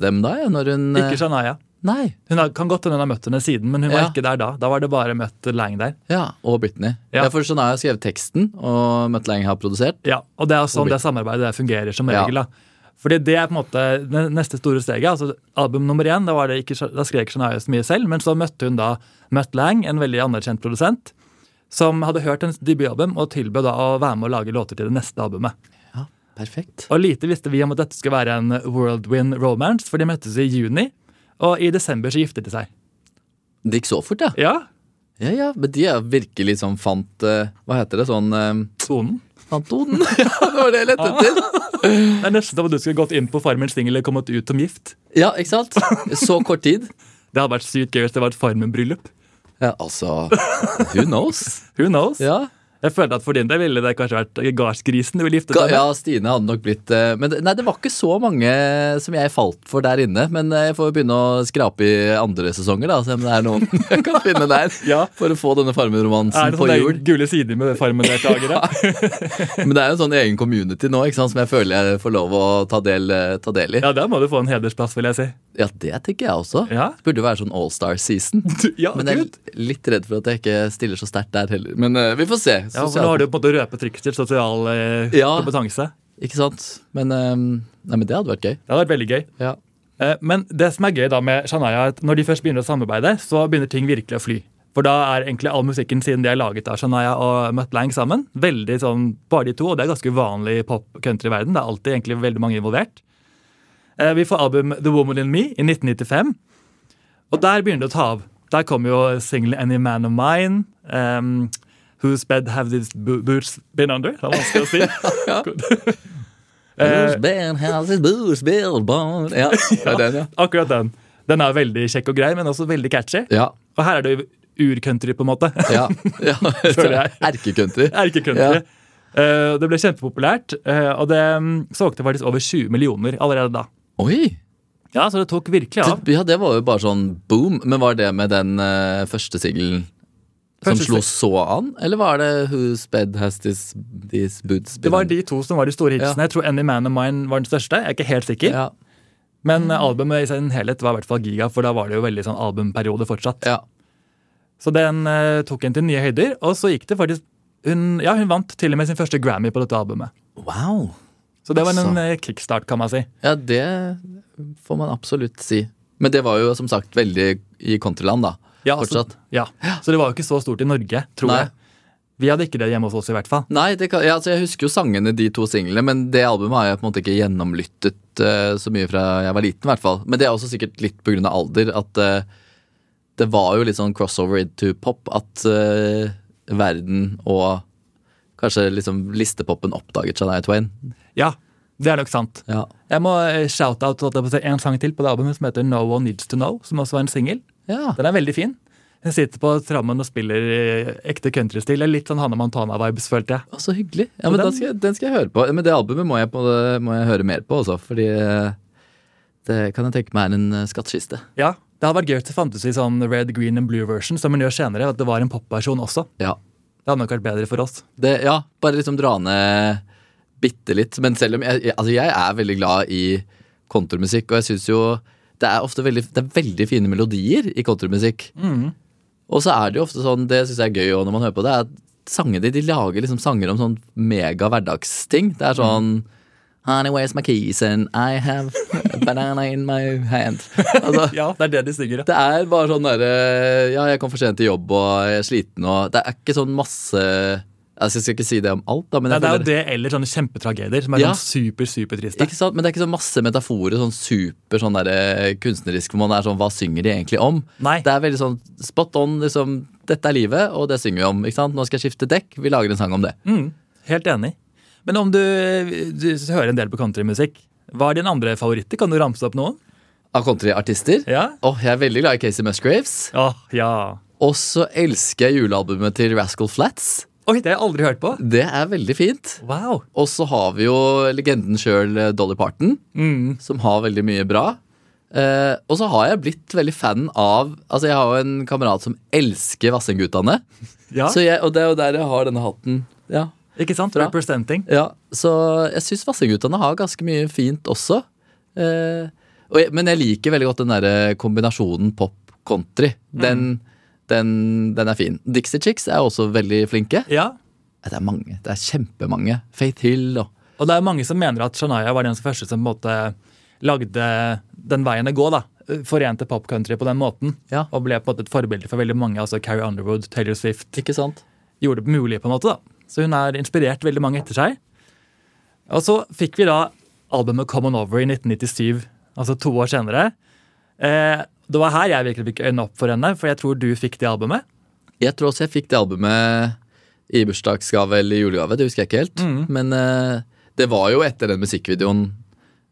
Speaker 2: dem da, ja, når hun eh,
Speaker 1: Ikke Shania.
Speaker 2: Nei.
Speaker 1: Hun har, kan godt hende hun har møtt henne siden, men hun var
Speaker 2: Ja.
Speaker 1: ikke der da. Da var det bare Mutt Lang der.
Speaker 2: Ja, og Britney.
Speaker 1: Ja.
Speaker 2: Ja. for Shania har skrevet teksten, og Mutt Lang har produsert.
Speaker 1: Ja, og det er sånn
Speaker 2: Og
Speaker 1: det samarbeidet der fungerer som
Speaker 2: Ja.
Speaker 1: regel. da. Fordi det er på en måte det neste store steget. altså Album nummer én, da, var det ikke, da skrek Shania så mye selv, men så møtte hun da Mutt Lang, en veldig anerkjent produsent, som hadde hørt hennes debutalbum og tilbød da å være med å lage låter til det neste albumet.
Speaker 2: Ja, perfekt.
Speaker 1: Og lite visste vi om at dette skulle være en whirlwind romance, for de møttes i juni, og i desember så giftet de seg.
Speaker 2: Det gikk så fort, ja.
Speaker 1: Ja,
Speaker 2: Ja, ja, men de er virkelig sånn fant eh, Hva heter det? Sånn eh,
Speaker 1: tonen.
Speaker 2: Fant tonen? ja, det var det jeg lette etter.
Speaker 1: Det er nesten som om du skulle gått inn på Farmen Sting eller kommet ut som gift.
Speaker 2: Ja, ikke sant? Så kort tid.
Speaker 1: Det hadde vært sykt gøy hvis det var et Farmen-bryllup.
Speaker 2: Ja, altså Who knows?
Speaker 1: Who knows?
Speaker 2: Ja,
Speaker 1: Jeg følte at for din del ville det kanskje vært gardsgrisen du ville gifte
Speaker 2: Ga-
Speaker 1: deg med.
Speaker 2: ja Stine hadde nok blitt eh, Men det- nei, det var ikke så mange som jeg falt for der inne. Men eh, jeg får jo begynne å skrape i andre sesonger, da. Se om det er noen jeg kan finne der.
Speaker 1: Ja.
Speaker 2: For å få denne
Speaker 1: Er
Speaker 2: Farmen-romansen
Speaker 1: det sånn
Speaker 2: på
Speaker 1: sånne
Speaker 2: hjul.
Speaker 1: gule sider med Farmen-deltakere?
Speaker 2: Men det er jo en sånn egen community nå ikke sant, som jeg føler jeg får lov å ta del, eh, ta del i. Ja.
Speaker 1: ja, der må du få en hedersplass, vil jeg si.
Speaker 2: det tenker jeg også.
Speaker 1: Ja.
Speaker 2: Det burde jo være sånn allstar-season.
Speaker 1: Du- ja,
Speaker 2: Men jeg
Speaker 1: gud.
Speaker 2: er litt redd for at jeg ikke stiller så sterkt der heller. Men eh, vi får se.
Speaker 1: Ja, for
Speaker 2: Sosial-
Speaker 1: nå har du på en måte røpet trykket til sosial eh,
Speaker 2: Ja.
Speaker 1: kompetanse.
Speaker 2: Ikke sant? Men, eh, nei, men det hadde vært gøy.
Speaker 1: Det hadde vært veldig gøy.
Speaker 2: Ja.
Speaker 1: Eh, Men det som er gøy da med Shania, er at når de først begynner å samarbeide, så begynner ting virkelig å fly. For da er egentlig all musikken siden de er laget av Shania og Mutt Lang sammen, veldig sånn bare de to, og det er ganske uvanlig i pop-country-verden. Det er alltid egentlig veldig mange involvert. Eh, Vi får album The Woman In Me i 1995, og der begynner det å ta av. Der kommer jo singelen Any Man of Mine, ehm, Whose Bed Have These Bo- Boots Been Under? Det var vanskelig å si. Eh,
Speaker 2: Bruce Bern has his boots, Bill Bond. Ja, det er den, ja.
Speaker 1: Akkurat den. Den er veldig kjekk og grei, men også veldig catchy.
Speaker 2: Ja.
Speaker 1: Og her er det jo ur-country, på en måte.
Speaker 2: ja, ja.
Speaker 1: Føler jeg.
Speaker 2: Erkecountry.
Speaker 1: Erke-country. Eh, det ble kjempepopulært, eh, og det mm, solgte faktisk over 20 millioner allerede da.
Speaker 2: Oi!
Speaker 1: Ja, Så det tok virkelig av.
Speaker 2: Det, ja, det var jo bare sånn boom. Men var det med den eh, første singelen som
Speaker 1: Første
Speaker 2: slo så an? Eller var det Whose Bed Has This, These Boots?
Speaker 1: Det var de to som var de store
Speaker 2: Ja.
Speaker 1: hitsene. Jeg tror Any Man of Mine var den største. Jeg er ikke helt sikker.
Speaker 2: Ja,
Speaker 1: Men eh, albumet i sin helhet var i hvert fall giga, for da var det jo veldig sånn albumperiode fortsatt.
Speaker 2: ja.
Speaker 1: Så den eh, tok en til nye høyder, og så gikk det faktisk hun, ja, hun vant til og med sin første Grammy på dette albumet.
Speaker 2: Wow!
Speaker 1: Så det var
Speaker 2: Altså.
Speaker 1: en eh, kickstart, kan man si.
Speaker 2: Ja, det får man absolutt si. Men det var jo som sagt veldig i countryland, da.
Speaker 1: Ja,
Speaker 2: Fortsatt.
Speaker 1: Så, ja. så det var jo ikke så stort i Norge, tror
Speaker 2: Nei.
Speaker 1: jeg. Vi hadde ikke det hjemme hos oss, i hvert fall.
Speaker 2: Nei, det kan, ja, altså jeg husker jo sangene, de to singlene, men det albumet har jeg på en måte ikke gjennomlyttet eh, så mye fra jeg var liten, i hvert fall. Men det er også sikkert litt pga. alder, at eh, det var jo litt sånn crossover into pop, at eh, verden og kanskje liksom listepopen oppdaget Shania Twain.
Speaker 1: Ja, det er nok sant.
Speaker 2: Ja.
Speaker 1: Jeg må eh, shout-out holdt jeg på å si, en sang til på det albumet som heter No One Needs To Know, som også var en singel.
Speaker 2: ja.
Speaker 1: Den er veldig fin. Hun sitter på trammen og spiller i ekte countrystil. Det er Litt sånn Hanne Montana-vibes, følte jeg.
Speaker 2: Å, så hyggelig. Ja, men
Speaker 1: den-
Speaker 2: den, skal, jeg- den skal jeg høre på. Men det albumet må jeg, på, må jeg høre mer på også, fordi eh, det kan jeg tenke meg er en eh, skattkiste.
Speaker 1: Ja, Det hadde vært gøy hvis det fantes i sånn red, green and blue-version, som hun gjør senere. At det var en popversjon også.
Speaker 2: Ja.
Speaker 1: Det hadde nok vært bedre for oss.
Speaker 2: Det, ja, bare liksom dra ned bitte litt. Men selv om jeg, jeg- altså jeg er veldig glad i countrymusikk, og jeg syns jo det er ofte veldig, det er veldig fine melodier i countrymusikk. Og så er det jo ofte sånn, det syns jeg er gøy også når man hører på det, er at sangene de, de lager liksom sanger om sånn mega hverdagsting. Det er sånn Honey, where's my keys and I have a banana in my hand. Altså,
Speaker 1: Ja, det er det de synger. ja.
Speaker 2: det er bare sånn derre Ja, jeg kom for sent til jobb, og jeg er sliten, og Det er ikke sånn masse altså, Jeg skal ikke si det om alt, da, men
Speaker 1: Nei,
Speaker 2: jeg
Speaker 1: det er jo
Speaker 2: føler
Speaker 1: det eller sånne kjempetragedier som er
Speaker 2: Ja.
Speaker 1: sånn super, supertriste.
Speaker 2: ikke sant? Men det er ikke så masse metaforer, sånn super sånn der, kunstnerisk, hvor man er sånn Hva synger de egentlig om?
Speaker 1: Nei.
Speaker 2: Det er veldig sånn spot on, liksom Dette er livet, og det synger vi om. ikke sant? Nå skal jeg skifte dekk, vi lager en sang om det.
Speaker 1: Mm, helt enig. Men om du, du hører en del på countrymusikk, hva er din andre favoritter? Kan du ramse opp noen?
Speaker 2: Av countryartister.
Speaker 1: Ja?
Speaker 2: Åh, jeg er veldig glad i Casey Musgraves.
Speaker 1: Åh, ja.
Speaker 2: Og så elsker jeg julealbumet til Rascal Flats.
Speaker 1: Oi, det har jeg aldri hørt på.
Speaker 2: Det er veldig fint.
Speaker 1: Wow.
Speaker 2: Og så har vi jo legenden sjøl, Dolly Parton,
Speaker 1: Mm.
Speaker 2: som har veldig mye bra. Eh, og så har jeg blitt veldig fan av Altså Jeg har jo en kamerat som elsker Vassendgutane.
Speaker 1: Ja,
Speaker 2: Så jeg- Og det er jo der jeg har denne hatten. Ja,
Speaker 1: ikke sant?
Speaker 2: bra.
Speaker 1: Representing.
Speaker 2: ja Så jeg syns Vassendgutane har ganske mye fint også. Eh, og jeg, men jeg liker veldig godt den derre kombinasjonen pop-country.
Speaker 1: Mm.
Speaker 2: Den, den, den er fin. Dixie Chicks er også veldig flinke.
Speaker 1: Ja,
Speaker 2: Det er mange. Det er kjempemange. Faith Hill og
Speaker 1: og det er mange som mener at Shania var den som første som på en måte lagde den veien å gå, da. Forente popcountry på den måten.
Speaker 2: Ja.
Speaker 1: Og ble på en måte et forbilde for veldig mange. altså Carrie Underwood, Taylor Swift,
Speaker 2: Ikke sant?
Speaker 1: gjorde det mulig, på en måte. da. Så hun har inspirert veldig mange etter seg. Og så fikk vi da albumet Come On Over i 1997, altså to år senere. Eh, det var her jeg virkelig fikk øynene opp for henne, for jeg tror du fikk det albumet.
Speaker 2: Jeg tror også jeg fikk det albumet i bursdagsgave eller julegave, det husker jeg ikke helt. Men eh, det var jo etter den musikkvideoen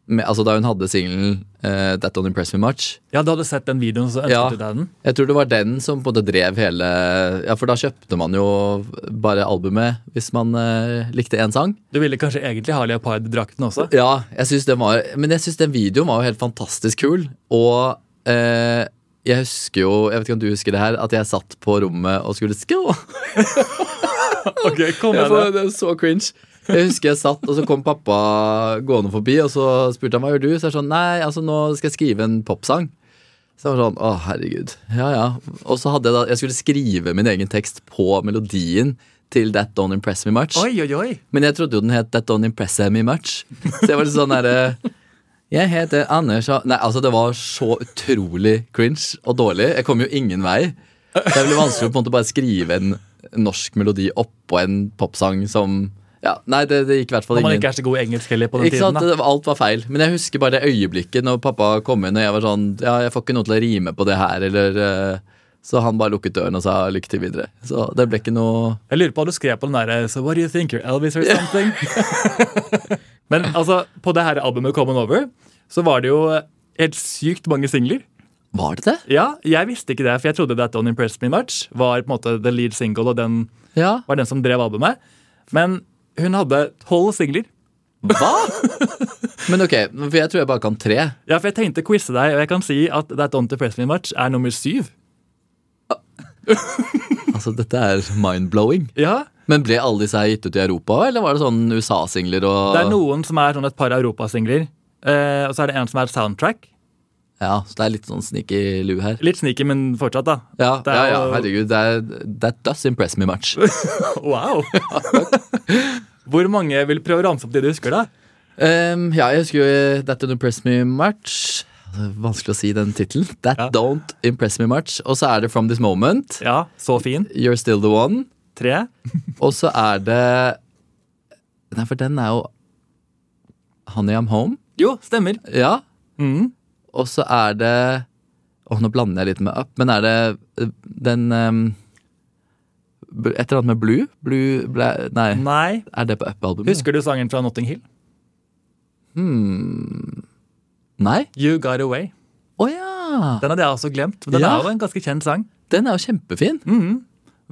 Speaker 2: med, Altså da hun hadde singelen eh, That Don't Impress Me Much.
Speaker 1: Ja, Du hadde sett den videoen, så ønsket
Speaker 2: Ja.
Speaker 1: du deg den?
Speaker 2: Jeg tror det var den som på en måte drev hele Ja, for da kjøpte man jo bare albumet hvis man eh, likte én sang.
Speaker 1: Du ville kanskje egentlig ha leoparddrakten også?
Speaker 2: Ja, jeg synes den var Men jeg syns den videoen var jo helt fantastisk kul. Og eh, jeg husker jo, jeg vet ikke om du husker det her, at jeg satt på rommet og skulle skå.
Speaker 1: Ok, kom med
Speaker 2: Jeg får,
Speaker 1: det.
Speaker 2: det er så cringe. Jeg husker jeg satt, og så kom pappa gående forbi, og så spurte han hva gjør du? Så jeg sånn, nei, altså nå skal jeg skrive en popsang. Så jeg var sånn, å herregud, ja ja. Og så hadde jeg da, jeg skulle skrive min egen tekst på melodien til That Don't Impress Me Much.
Speaker 1: Oi, oi, oi.
Speaker 2: Men jeg trodde jo den het That Don't Impress Me Much. Så jeg var litt sånn derre Jeg heter Anders og Nei, altså, det var så utrolig cringe og dårlig. Jeg kom jo ingen vei. Det er veldig vanskelig å på en måte bare skrive en norsk melodi oppå en popsang som Ja, nei, det, det gikk i hvert fall
Speaker 1: Når man
Speaker 2: ingen
Speaker 1: ikke er så god i engelsk heller på den
Speaker 2: ikke sant?
Speaker 1: tiden. da.
Speaker 2: Det- Alt var feil. Men jeg husker bare det øyeblikket når pappa kom inn og jeg var sånn Ja, jeg får ikke noe til å rime på det her, eller eh, Så han bare lukket døren og sa lykke til videre. Så det ble ikke noe
Speaker 1: Jeg lurer på hva du skrev på den derre So what do you think, you're Elvis or something? Men altså, på det her albumet Come On Over, så var det jo eh, helt sykt mange singler.
Speaker 2: Var det det?
Speaker 1: Ja, jeg visste ikke det, for jeg trodde That Don't Impress Me Much var på en måte the lead single, og den
Speaker 2: Ja.
Speaker 1: var den som drev albumet. Men hun hadde tolv singler.
Speaker 2: Hva?! Men ok, for jeg tror jeg bare kan tre.
Speaker 1: Ja, for jeg tenkte å quize deg, og jeg kan si at That Don't Impress Me Much er nummer syv.
Speaker 2: Altså, dette er mind-blowing.
Speaker 1: Ja,
Speaker 2: Men ble alle disse her gitt ut i Europa, eller var det sånn USA-singler og
Speaker 1: Det er noen som er sånn et par europasingler, eh, og så er det en som er soundtrack.
Speaker 2: Ja, så det er litt sånn sneaky lu her.
Speaker 1: Litt sneaky, men fortsatt, da.
Speaker 2: Ja,
Speaker 1: Det er
Speaker 2: ja, ja,
Speaker 1: jo-
Speaker 2: herregud. Det er, that does impress me much.
Speaker 1: Wow! Hvor mange vil prøve å ramse opp de du husker, da?
Speaker 2: Um, ja, jeg husker jo eh, That Don't Impress Me Much. Det er Vanskelig å si den tittelen. That
Speaker 1: Ja.
Speaker 2: Don't Impress Me Much. Og så er det From This Moment.
Speaker 1: Ja, Så fin.
Speaker 2: You're Still The One.
Speaker 1: Tre.
Speaker 2: Og så er det Nei, for den er jo Honey I'm Home.
Speaker 1: Jo, stemmer.
Speaker 2: Ja.
Speaker 1: Mm.
Speaker 2: Og så er det Åh, nå blander jeg litt med up, men er det eh, den ehm, bl- Et eller annet med blue? Blue ble, Nei,
Speaker 1: Nei.
Speaker 2: er det på up-albumet?
Speaker 1: Husker du sangen fra Notting Hill?
Speaker 2: Nei?
Speaker 1: You Got Away.
Speaker 2: Å ja!
Speaker 1: Den hadde jeg også glemt. Men den
Speaker 2: Ja.
Speaker 1: er jo en ganske kjent sang.
Speaker 2: Den er jo kjempefin.
Speaker 1: Mm.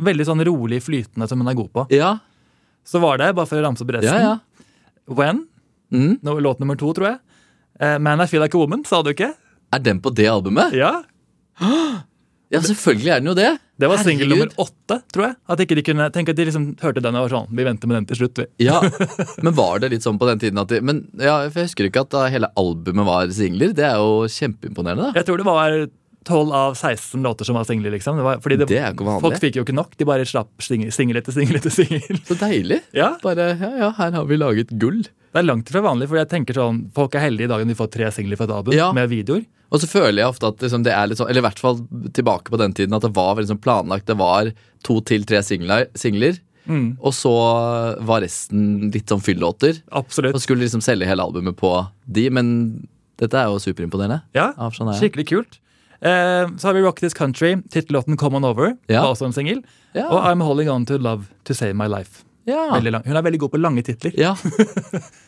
Speaker 1: Veldig sånn rolig flytende som hun er god på.
Speaker 2: Ja,
Speaker 1: Så var det, bare for å ramse opp resten,
Speaker 2: ja, ja.
Speaker 1: When.
Speaker 2: Mm.
Speaker 1: nå- Låt nummer to, tror jeg. Eh, Man I Feel Like a Woman, sa du ikke?
Speaker 2: Er den på det albumet?
Speaker 1: Ja.
Speaker 2: Ja, selvfølgelig er den jo det.
Speaker 1: Det var singel
Speaker 2: Herregud.
Speaker 1: nummer åtte, tror jeg. At ikke de kunne, tenk at de liksom hørte den og var sånn Vi venter med den til slutt, vi.
Speaker 2: Ja, Men var det litt sånn på den tiden at de Men ja, for Jeg husker ikke at da hele albumet var singler. Det er jo kjempeimponerende. da
Speaker 1: Jeg tror det var 12 av 16 låter som var singler, liksom. Det var, fordi det,
Speaker 2: Det er jo ikke vanlig.
Speaker 1: folk fikk jo ikke nok. De bare slapp singel singel etter singel etter singel.
Speaker 2: Så deilig.
Speaker 1: Ja,
Speaker 2: Bare ja, ja, her har vi laget gull.
Speaker 1: Det er langt fra vanlig, for jeg tenker sånn Folk er heldige i dag når de får tre singler fra et album
Speaker 2: Ja.
Speaker 1: med videoer.
Speaker 2: Og så føler jeg ofte at liksom, det er litt sånn Eller i hvert fall tilbake på den tiden at det var veldig sånn planlagt. Det var to til tre singler, singler
Speaker 1: Mm.
Speaker 2: og så var resten litt sånn fyllåter.
Speaker 1: Absolutt.
Speaker 2: Og skulle liksom selge hele albumet på de, men dette er jo superimponerende.
Speaker 1: Ja,
Speaker 2: Av sånn Shania.
Speaker 1: Skikkelig kult. Eh, så har vi Rock This Country. Tittellåten Come On Over
Speaker 2: Ja.
Speaker 1: var også en singel.
Speaker 2: Ja.
Speaker 1: Og I'm Holding On To Love To Save My Life.
Speaker 2: Ja.
Speaker 1: Veldig lang. Hun er veldig god på lange titler.
Speaker 2: ja.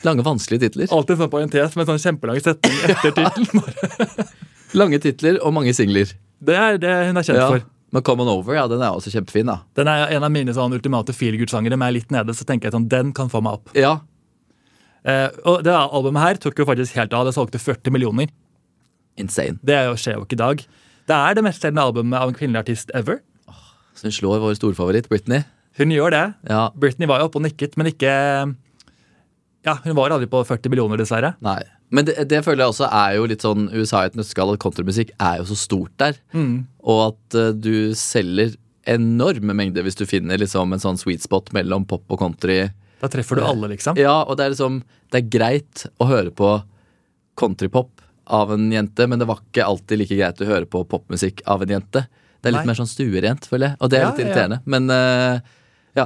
Speaker 2: Lange, vanskelige titler.
Speaker 1: Alltid sånn parentes med en sånn kjempelang setning etter tittelen.
Speaker 2: Lange titler og mange singler.
Speaker 1: Det er det hun er kjent
Speaker 2: Ja.
Speaker 1: for.
Speaker 2: Men Come On Over ja, den er også kjempefin. da
Speaker 1: Den er en av mine sånn ultimate feelgood-sangere. Når jeg er litt nede, så tenker jeg sånn, den kan få meg opp.
Speaker 2: Ja,
Speaker 1: Eh, og det albumet her tok jo faktisk helt av. Det solgte 40 millioner.
Speaker 2: Insane.
Speaker 1: Det er jo- skjer jo ikke i dag. Det er det mest selgende albumet av en kvinnelig artist ever.
Speaker 2: Så hun slår vår storfavoritt Britney.
Speaker 1: Hun gjør det.
Speaker 2: Ja,
Speaker 1: Britney var jo oppe og nikket, men ikke Ja, hun var aldri på 40 millioner, dessverre.
Speaker 2: nei Men det, det føler jeg også er jo litt sånn USA i et nøtteskall, at countrymusikk er jo så stort der.
Speaker 1: Mm.
Speaker 2: Og at eh, du selger enorme mengder hvis du finner liksom en sånn sweet spot mellom pop og country.
Speaker 1: Da treffer du alle, liksom.
Speaker 2: Ja, og det er liksom Det er greit å høre på countrypop av en jente, men det var ikke alltid like greit å høre på popmusikk av en jente. Det er litt
Speaker 1: Nei.
Speaker 2: mer sånn stuerent, føler jeg. Og det er
Speaker 1: Ja,
Speaker 2: litt
Speaker 1: ja.
Speaker 2: irriterende. Men eh, ja.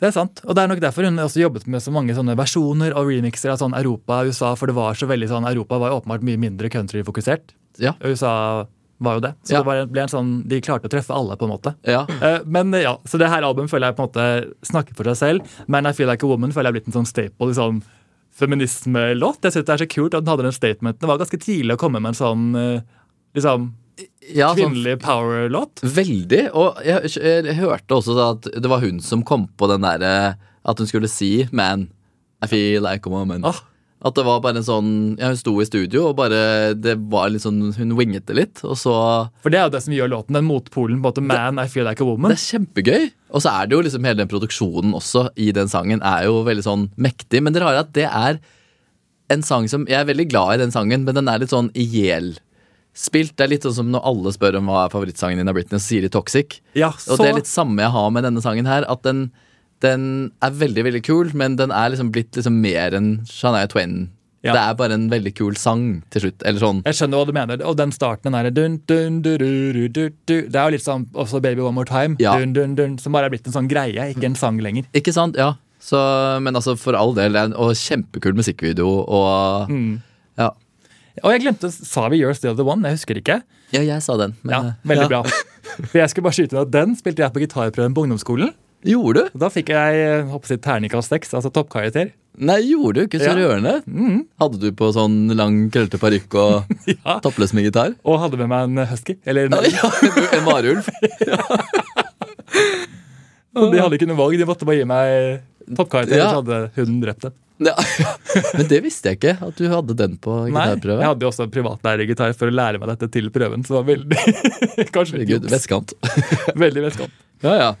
Speaker 1: Det er sant. Og det er nok derfor hun også jobbet med så mange sånne versjoner og remixer av sånn Europa og USA, for det var så veldig sånn Europa var jo åpenbart mye mindre countryfokusert.
Speaker 2: Ja.
Speaker 1: Og USA var jo det. Så
Speaker 2: Ja.
Speaker 1: det bare ble en sånn De klarte å treffe alle, på en måte.
Speaker 2: ja.
Speaker 1: Eh, Men ja, så det her albumet føler jeg på en måte snakker for seg selv. Man I Feel Like a Woman føler jeg er blitt en sånn staple i sånn feminismelåt. Jeg synes det er så kult at den hadde den statementen. Det var ganske tidlig å komme med en sånn eh, liksom,
Speaker 2: ja sånn
Speaker 1: kvinnelig power-låt.
Speaker 2: Veldig. Og jeg, jeg hørte også da at det var hun som kom på den derre At hun skulle si 'man'. I feel like a woman.
Speaker 1: Ah.
Speaker 2: At det var bare en sånn ja, Hun sto i studio, og bare det var litt sånn Hun winget det litt, og så
Speaker 1: For det er jo det som gjør låten den motpolen. på en måte Man, I Feel Like a Woman.
Speaker 2: Det er kjempegøy. Og så er det jo liksom hele den produksjonen også i den sangen er jo veldig sånn mektig. Men det rare er at det er en sang som Jeg er veldig glad i den sangen, men den er litt sånn ihjelspilt. Det er litt sånn som når alle spør om hva er favorittsangen din av Britney, så sier de Toxic.
Speaker 1: Ja, så,
Speaker 2: Og det er litt samme jeg har med denne sangen her. At den, den er veldig veldig kul, men den er liksom blitt liksom mer enn Shania Twain.
Speaker 1: Ja.
Speaker 2: Det er bare en veldig kul sang til slutt. Eller sånn.
Speaker 1: Jeg skjønner hva du mener. Og den starten den derre dun, dun, du, du, du, du, du. Det er jo litt sånn også Baby One More Time,
Speaker 2: Ja.
Speaker 1: dun, dun, dun, som bare er blitt en sånn greie, ikke en sang lenger.
Speaker 2: Ikke sant? Ja. Så, men altså, for all del. det er en- Og kjempekul musikkvideo. Og
Speaker 1: Mm.
Speaker 2: ja.
Speaker 1: Og jeg glemte, sa vi You're Still The One? Jeg husker ikke.
Speaker 2: ja, jeg sa den. men- eh,
Speaker 1: Ja, Veldig bra. For jeg skulle bare skyte inn at Den spilte jeg på gitarprøven på ungdomsskolen.
Speaker 2: Gjorde du?
Speaker 1: Og Da fikk jeg eh, håper jeg, terningkast seks, altså toppkarakter.
Speaker 2: Nei, gjorde du ikke?
Speaker 1: Ja.
Speaker 2: Så
Speaker 1: Mm.
Speaker 2: rørende. Hadde du på sånn lang, krøllete parykk og
Speaker 1: Ja.
Speaker 2: toppløs med gitar?
Speaker 1: Og hadde med meg en eh, husky. Eller en,
Speaker 2: Ja, en varulv.
Speaker 1: De hadde ikke noe valg, de måtte bare gi meg eh, toppkarakter.
Speaker 2: Ja.
Speaker 1: Så hadde hun drept dem.
Speaker 2: Ja. Men det visste jeg ikke, at du hadde den på
Speaker 1: Nei, jeg
Speaker 2: gitarprøve.
Speaker 1: hadde jo også privatlærergitar for å lære meg dette til prøven. Så det var veldig Kanskje litt
Speaker 2: Herregud,
Speaker 1: juks.
Speaker 2: vestkant.
Speaker 1: Veldig vestkant.
Speaker 2: Ja, ja.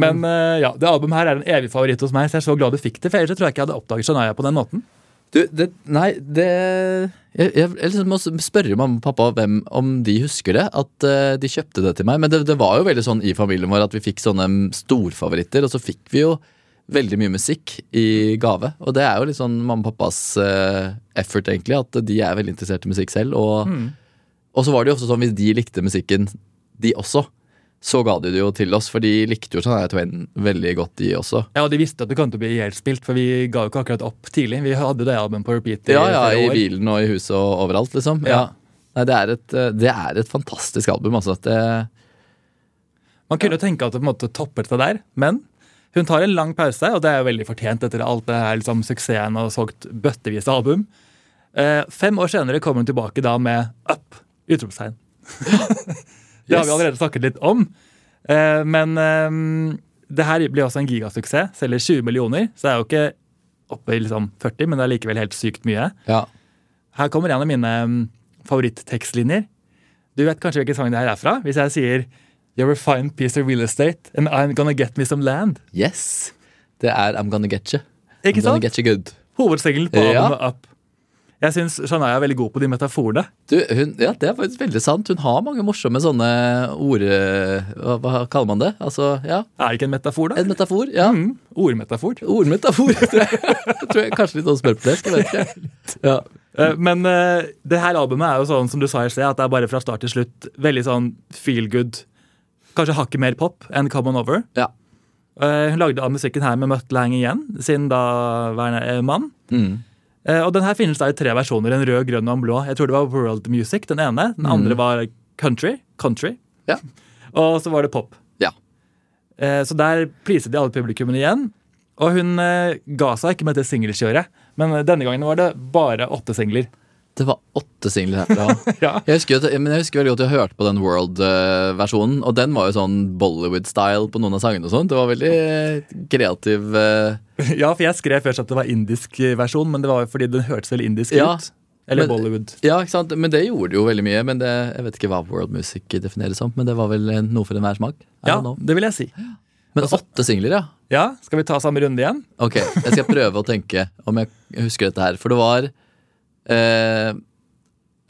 Speaker 1: Men eh, ja, det albumet her er en evig favoritt hos meg, så jeg er så glad du fikk det. For ellers så tror jeg ikke jeg hadde oppdaget Shania på den måten.
Speaker 2: Du, det, nei, det Jeg, jeg, jeg liksom må spørre mamma og pappa hvem, om de husker det. At eh, de kjøpte det til meg. Men det, det var jo veldig sånn i familien vår at vi fikk sånne mm, storfavoritter. Og så fikk vi jo veldig mye musikk i gave. Og det er jo litt sånn mamma og pappas eh, effort, egentlig. At de er veldig interessert i musikk selv. Og, og så var det jo også sånn hvis de likte musikken, de også. Så ga de det jo til oss, for de likte jo sånn, Shania Twain veldig godt, de også.
Speaker 1: Ja, og de visste at det kom til å bli ihjelspilt, for vi ga jo ikke akkurat opp tidlig. Vi hadde det albumet på repeat i
Speaker 2: Ja, ja,
Speaker 1: flere
Speaker 2: i
Speaker 1: år.
Speaker 2: bilen og i huset og overalt, liksom. Ja.
Speaker 1: Ja.
Speaker 2: Nei, det er, et, eh, det er et fantastisk album, altså. Det,
Speaker 1: Man kunne jo tenke at det på en måte toppet seg der, men hun tar en lang pause, og det er jo veldig fortjent etter alt det her liksom, suksessen og solgt bøttevis av album. Eh, fem år senere kommer hun tilbake da med Up! Utropstegn. det har
Speaker 2: Yes.
Speaker 1: vi allerede snakket litt om. Eh, men eh, det her blir også en gigasuksess. Selger 20 millioner, så det er jo ikke oppe i liksom 40, men det er likevel helt sykt mye.
Speaker 2: ja.
Speaker 1: Her kommer en av mine mm, favoritttekstlinjer. Du vet kanskje hvilken sang det her er fra? Hvis jeg sier You're a fine piece of real estate, and I'm gonna get me some land.
Speaker 2: Yes! Det er I'm gonna get you. I'm
Speaker 1: Ikke
Speaker 2: gonna
Speaker 1: sant?
Speaker 2: get you good.
Speaker 1: Hovedsingelen på
Speaker 2: Ja.
Speaker 1: albumet Up. Jeg syns Shania er veldig god på de metaforene.
Speaker 2: Du, hun, ja, det er faktisk veldig sant. Hun har mange morsomme sånne ord... eh, Hva, hva kaller man det? Altså, ja,
Speaker 1: Er det ikke en metafor, da?
Speaker 2: en metafor. Ja,
Speaker 1: Mm, ordmetafor.
Speaker 2: ordmetafor. Tror jeg. tror jeg kanskje litt sånn smørplesk, jeg vet ikke. Ja.
Speaker 1: Eh, Men eh, det her albumet er jo sånn som du sa i sted, at det er bare fra start til slutt veldig sånn feel good. Kanskje hakket mer pop enn Come On Over.
Speaker 2: ja.
Speaker 1: Eh, Hun lagde all musikken her med Mutt Lang igjen, sin daværende eh, mann.
Speaker 2: Mm.
Speaker 1: Eh, Og den her finnes da i tre versjoner, en rød, grønn og en blå. Jeg tror det var World Music, den ene. Den andre var Country. country.
Speaker 2: Mm. Ja.
Speaker 1: Og så var det pop.
Speaker 2: Ja.
Speaker 1: Eh, Så der pleaset de alle publikummene igjen. Og hun eh, ga seg ikke med det singelkjøret, men eh, denne gangen var det bare åtte singler.
Speaker 2: Det var åtte singler herfra.
Speaker 1: Ja.
Speaker 2: Jeg husker, at- men jeg husker veldig godt jeg hørte på den World-versjonen, og den var jo sånn Bollywood-style på noen av sangene og sånt. Det var veldig kreativ eh,
Speaker 1: Ja, for jeg skrev først at det var indisk eh, versjon, men det var jo fordi den hørtes veldig indisk
Speaker 2: Ja,
Speaker 1: ut. Eller
Speaker 2: men-
Speaker 1: Bollywood.
Speaker 2: Ja, ikke sant? Men det gjorde det jo veldig mye. Men det, Jeg vet ikke hva world music defineres som, men det var vel noe for enhver smak. I
Speaker 1: Ja, Altså-
Speaker 2: don't know.
Speaker 1: det vil jeg si.
Speaker 2: Men åtte singler, ja.
Speaker 1: Ja, Skal vi ta samme runde igjen?
Speaker 2: Ok, jeg skal prøve å tenke om jeg husker dette her. For det var eh,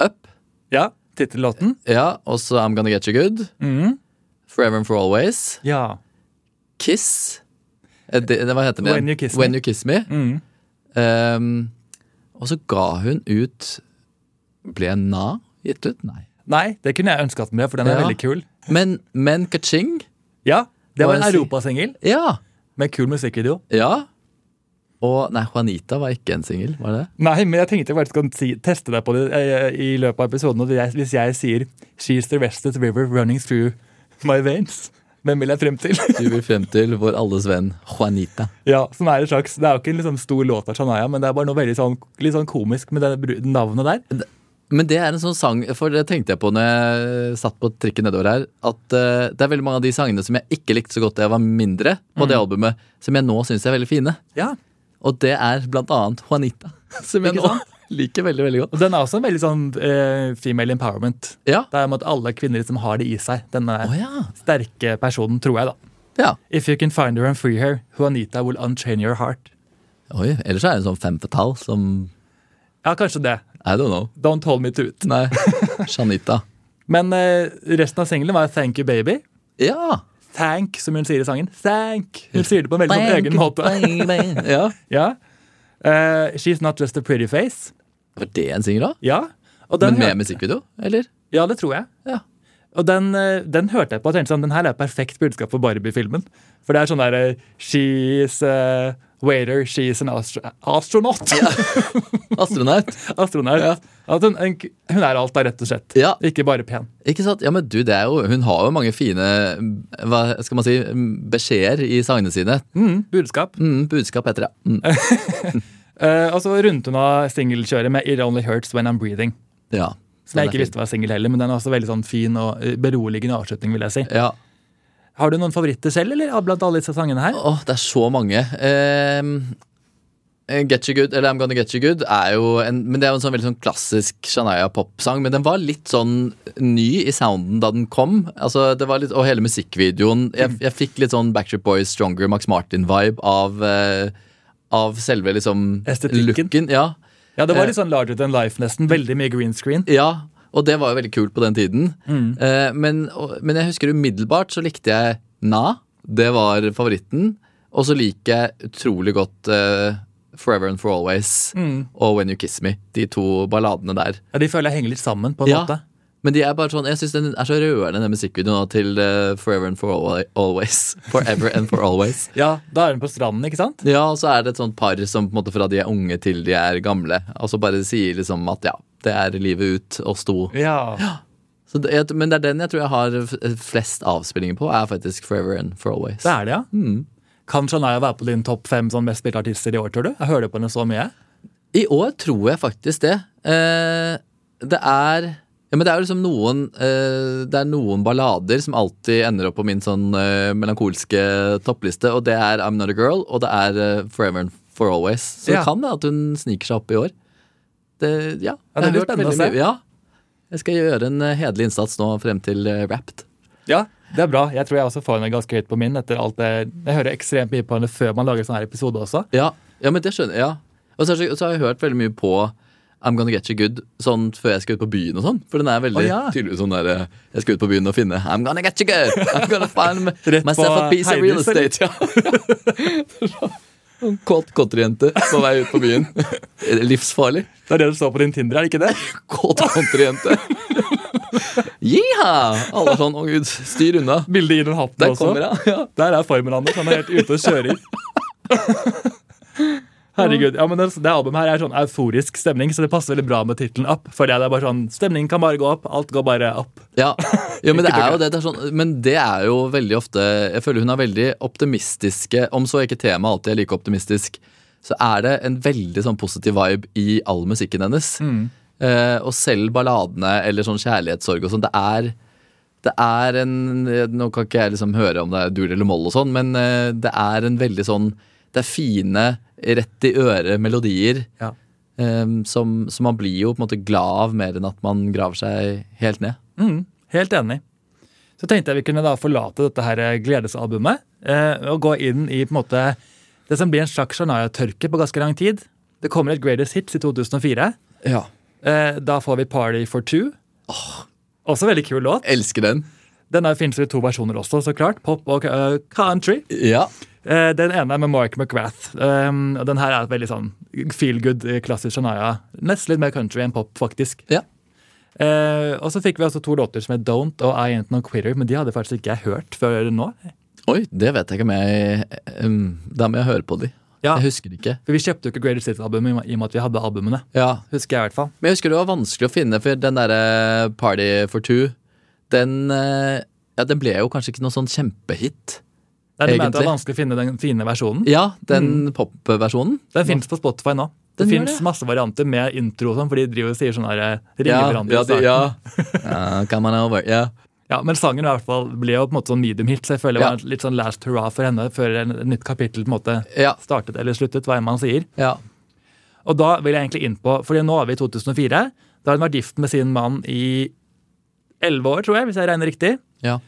Speaker 2: Up,
Speaker 1: Ja, tittellåten.
Speaker 2: ja, og så I'm Gonna Get You Good.
Speaker 1: Mhm.
Speaker 2: Forever and For Always.
Speaker 1: Ja.
Speaker 2: Kiss. Eh, Det, det, hva heter den?
Speaker 1: When You Kiss Me.
Speaker 2: When You Kiss Me.
Speaker 1: Mhm.
Speaker 2: Ehm, og så ga hun ut Ble Na gitt ut? Nei.
Speaker 1: Nei, det kunne jeg ønska at den ble, for den er
Speaker 2: Ja.
Speaker 1: veldig kul.
Speaker 2: Men, men Kaching?
Speaker 1: Ja, Det
Speaker 2: Hva
Speaker 1: var en
Speaker 2: jeg sier?
Speaker 1: europasingel
Speaker 2: Ja.
Speaker 1: med kul musikkvideo.
Speaker 2: Ja. Og nei, Juanita var ikke en singel, var det?
Speaker 1: Nei, men jeg tenkte bare skal si, teste deg på det eh, i løpet av episoden. og jeg- Hvis jeg sier 'She's the restless river running through my veins', hvem vil jeg frem til?
Speaker 2: Du vil frem til vår alles venn Juanita.
Speaker 1: Ja, som er en slags, Det er jo ikke en liksom stor låt av Shania, men det er bare noe veldig sånn, litt sånn komisk med det bru- navnet der.
Speaker 2: Men det er en sånn sang, for det tenkte jeg på når jeg satt på trikken nedover her, at eh, det er veldig mange av de sangene som jeg ikke likte så godt da jeg var mindre på det albumet, som jeg nå syns er veldig fine.
Speaker 1: Ja,
Speaker 2: Og det er blant annet Juanita, som jeg
Speaker 1: Ikke
Speaker 2: nå liker veldig, veldig godt.
Speaker 1: og Den er også en veldig sånn eh, female empowerment.
Speaker 2: Ja.
Speaker 1: Det er om at alle kvinner liksom har det i seg. Denne
Speaker 2: Å ja.
Speaker 1: sterke personen, tror jeg, da.
Speaker 2: ja.
Speaker 1: If you can find her and free her, Juanita will unchain your heart.
Speaker 2: Oi, ellers er det en sånn femtetall som
Speaker 1: Ja, kanskje det.
Speaker 2: I don't know.
Speaker 1: Don't hold me to it.
Speaker 2: Nei. Janita.
Speaker 1: Men eh, resten av singelen var Thank You Baby.
Speaker 2: Ja.
Speaker 1: Thank, som hun sier i sangen. Thank! Hun sier det på en veldig sånn egen måte.
Speaker 2: Ja.
Speaker 1: Ja. Eh, she's not just a pretty face.
Speaker 2: Var det en singel, da?
Speaker 1: Ja. Og den
Speaker 2: Men med
Speaker 1: hørte-
Speaker 2: musikkvideo, eller?
Speaker 1: Ja, det tror jeg.
Speaker 2: Ja.
Speaker 1: Og den, eh, den hørte jeg på og tenkte sånn, den her er perfekt budskap for Barbie-filmen. For det er sånn der eh, She's a waiter, she's an astro astronaut.
Speaker 2: Astronaut.
Speaker 1: Astronaut. At hun, en, hun er alt da, rett og slett.
Speaker 2: Ja,
Speaker 1: Ikke bare pen.
Speaker 2: ikke sant? Ja, men du, det er jo, Hun har jo mange fine hva skal man si, beskjeder i sangene sine.
Speaker 1: Mm, budskap.
Speaker 2: Mm, budskap heter det. Mm,
Speaker 1: Eh, og så rundt hun av singelkjøret med It Only Hurts When I'm Breathing.
Speaker 2: ja.
Speaker 1: Som jeg
Speaker 2: Den er
Speaker 1: ikke visste var singel heller, men den er også veldig sånn fin og eh, beroligende avslutning, vil jeg si.
Speaker 2: fin. Ja.
Speaker 1: Har du noen favoritter selv, eller av- blant alle disse sangene her?
Speaker 2: Åh, det er så mange. Ehm, eh, Get You Good, eller I'm Gonna Get You Good, er jo en, men det er jo en sånn veldig sånn klassisk Shania-popsang. Men den var litt sånn ny i sounden da den kom. Altså, det var litt, Og hele musikkvideoen.
Speaker 1: Mm.
Speaker 2: Jeg, jeg fikk litt sånn Backstreet Boys, Stronger, Max Martin-vibe av, eh, av selve liksom
Speaker 1: Estetikken.
Speaker 2: looken. Ja.
Speaker 1: Ja, det var litt sånn larger than life, nesten. Veldig mye green screen.
Speaker 2: Ja, og det var jo veldig kult på den tiden. Eh, men, og, men jeg husker umiddelbart så likte jeg Na. Det var favoritten. Og så liker jeg utrolig godt eh, Forever and For Always og When You Kiss Me. De to balladene der.
Speaker 1: Mm. Ja, De føler jeg henger litt sammen, på en måte.
Speaker 2: Men de er bare sånn, jeg syns den er så rørende, den musikkvideoen nå, til eh, Forever and For Alwa- Always. Forever and For Always.
Speaker 1: Ja, Da er hun på stranden, ikke sant?
Speaker 2: Ja, og så er det et sånt par som på en måte fra de er unge til de er gamle. Og så bare sier liksom at ja, det er livet ut, oss to.
Speaker 1: Ja.
Speaker 2: Så det, jeg- men det er den jeg tror jeg har f- flest avspillinger på, er faktisk Forever and For Always.
Speaker 1: Det er det, ja. Mm. Kan Shania være på din topp fem sånn mest spilte artister i år, tror du? Jeg hører på henne så mye.
Speaker 2: I år tror jeg faktisk det. Eh, det er ja, men det er jo liksom noen eh, Det er noen ballader som alltid ender opp på min sånn eh, melankolske toppliste, og det er I'm Not A Girl, og det er eh, Forever and For Always. Så
Speaker 1: Ja.
Speaker 2: det kan det at hun sniker seg opp i år. Det, ja,
Speaker 1: Ja, det blir
Speaker 2: jeg har hørt
Speaker 1: spennende å
Speaker 2: veldig mye-
Speaker 1: se.
Speaker 2: Ja. Jeg skal gjøre en eh, hederlig innsats nå frem til eh, Wrapped.
Speaker 1: Ja, Det er bra. Jeg tror jeg også får henne ganske høyt på min. etter alt det. Jeg hører ekstremt mye på henne før man lager sånne her episode også.
Speaker 2: Ja, ja men det skjønner jeg. Ja. Og så, er det- så har jeg hørt veldig mye på I'm Gonna Get You Good sånn før jeg skal ut på byen. og sånn For den er veldig
Speaker 1: Å, ja.
Speaker 2: tydelig sånn der eh, Jeg skal ut på byen og finne I'm gonna get you good! I'm gonna find
Speaker 1: Rett
Speaker 2: myself
Speaker 1: på
Speaker 2: a piece of real
Speaker 1: Heidis, eller?
Speaker 2: estate. Ja. Sånn Kåt countryjente på vei ut på byen. Livsfarlig.
Speaker 1: Det er det du så på din Tinder, er det ikke det?
Speaker 2: Kåt countryjente. Jiha! Alle er sånn Å, gud, styr unna.
Speaker 1: Bildet i den hatten
Speaker 2: Der
Speaker 1: også.
Speaker 2: kommer jeg. Ja.
Speaker 1: Der er formen hans. Han er helt ute og kjører. Herregud, ja, men det, det albumet her er sånn euforisk stemning, så det passer veldig bra med tittelen Up. For det er bare sånn, Stemningen kan bare gå opp. Alt går bare opp.
Speaker 2: Ja, ja men, det
Speaker 1: Ikke
Speaker 2: er jo
Speaker 1: begrep.
Speaker 2: det, det er sånn, men det er jo veldig ofte Jeg føler hun er veldig optimistiske Om så ikke temaet alltid er like optimistisk Så er det en veldig sånn positiv vibe I all musikken hennes eh, Og selv balladene Eller sånn kjærlighetssorg og sånn Det er, det er en Nå kan ikke jeg liksom høre om det er dur eller moll og sånn Men eh, det er en veldig sånn Det er fine, rett i øre melodier
Speaker 1: Ja.
Speaker 2: eh, som, som man blir jo på en måte glad av Mer enn at man graver seg helt ned
Speaker 1: Mm, helt enig. Så tenkte jeg vi kunne da forlate dette her gledesalbumet eh, og gå inn i på en måte det som blir en slags Shania-tørke på ganske lang tid. Det kommer et Greatest Hits i 2004.
Speaker 2: Ja
Speaker 1: Eh, da får vi Party for Two. Også veldig kul låt.
Speaker 2: Elsker den.
Speaker 1: Den fins i to versjoner også, så klart. Pop og eh, country.
Speaker 2: Ja.
Speaker 1: Eh, den ene er med Mark McGrath. Um, og den her er et veldig sånn feel good, eh, klassisk Shania. Nesten litt mer country enn pop, faktisk.
Speaker 2: Ja.
Speaker 1: Eh, og så fikk vi altså to låter som het Don't og I Ain't No Quitter, men de hadde faktisk ikke jeg hørt før nå.
Speaker 2: Oi, det vet jeg ikke om jeg um, Da må jeg høre på de.
Speaker 1: Ja.
Speaker 2: Jeg husker ikke.
Speaker 1: For vi kjøpte jo ikke Greater City-albumet i og- i og med at vi hadde albumene.
Speaker 2: Ja.
Speaker 1: Husker jeg i hvert fall.
Speaker 2: Men jeg husker det var vanskelig å finne, for den derre Party for two, den eh, Ja, den ble jo kanskje ikke noe sånn kjempehit.
Speaker 1: Det er det mente det var
Speaker 2: Egentlig.
Speaker 1: vanskelig å finne den fine versjonen.
Speaker 2: Ja, den Mm. popversjonen.
Speaker 1: Den fins på Spotify nå. Det
Speaker 2: Den gjør
Speaker 1: fins
Speaker 2: det.
Speaker 1: masse varianter med intro og sånn, for de driver og sier sånn her eh, ringer
Speaker 2: Ja,
Speaker 1: hverandre.
Speaker 2: ja,
Speaker 1: i starten.
Speaker 2: de, ja. Ja, come on over. Ja.
Speaker 1: Ja, Men sangen i hvert fall ble jo på en måte sånn medium hit, så jeg føler det
Speaker 2: Ja.
Speaker 1: var litt sånn last hurra for henne før en- et nytt kapittel på en måte
Speaker 2: Ja.
Speaker 1: startet eller sluttet, hva enn man sier.
Speaker 2: ja.
Speaker 1: Og da vil jeg egentlig inn på, fordi nå er vi i 2004, da har hun vært gift med sin mann i 11 år, tror jeg, hvis jeg regner riktig.
Speaker 2: Ja.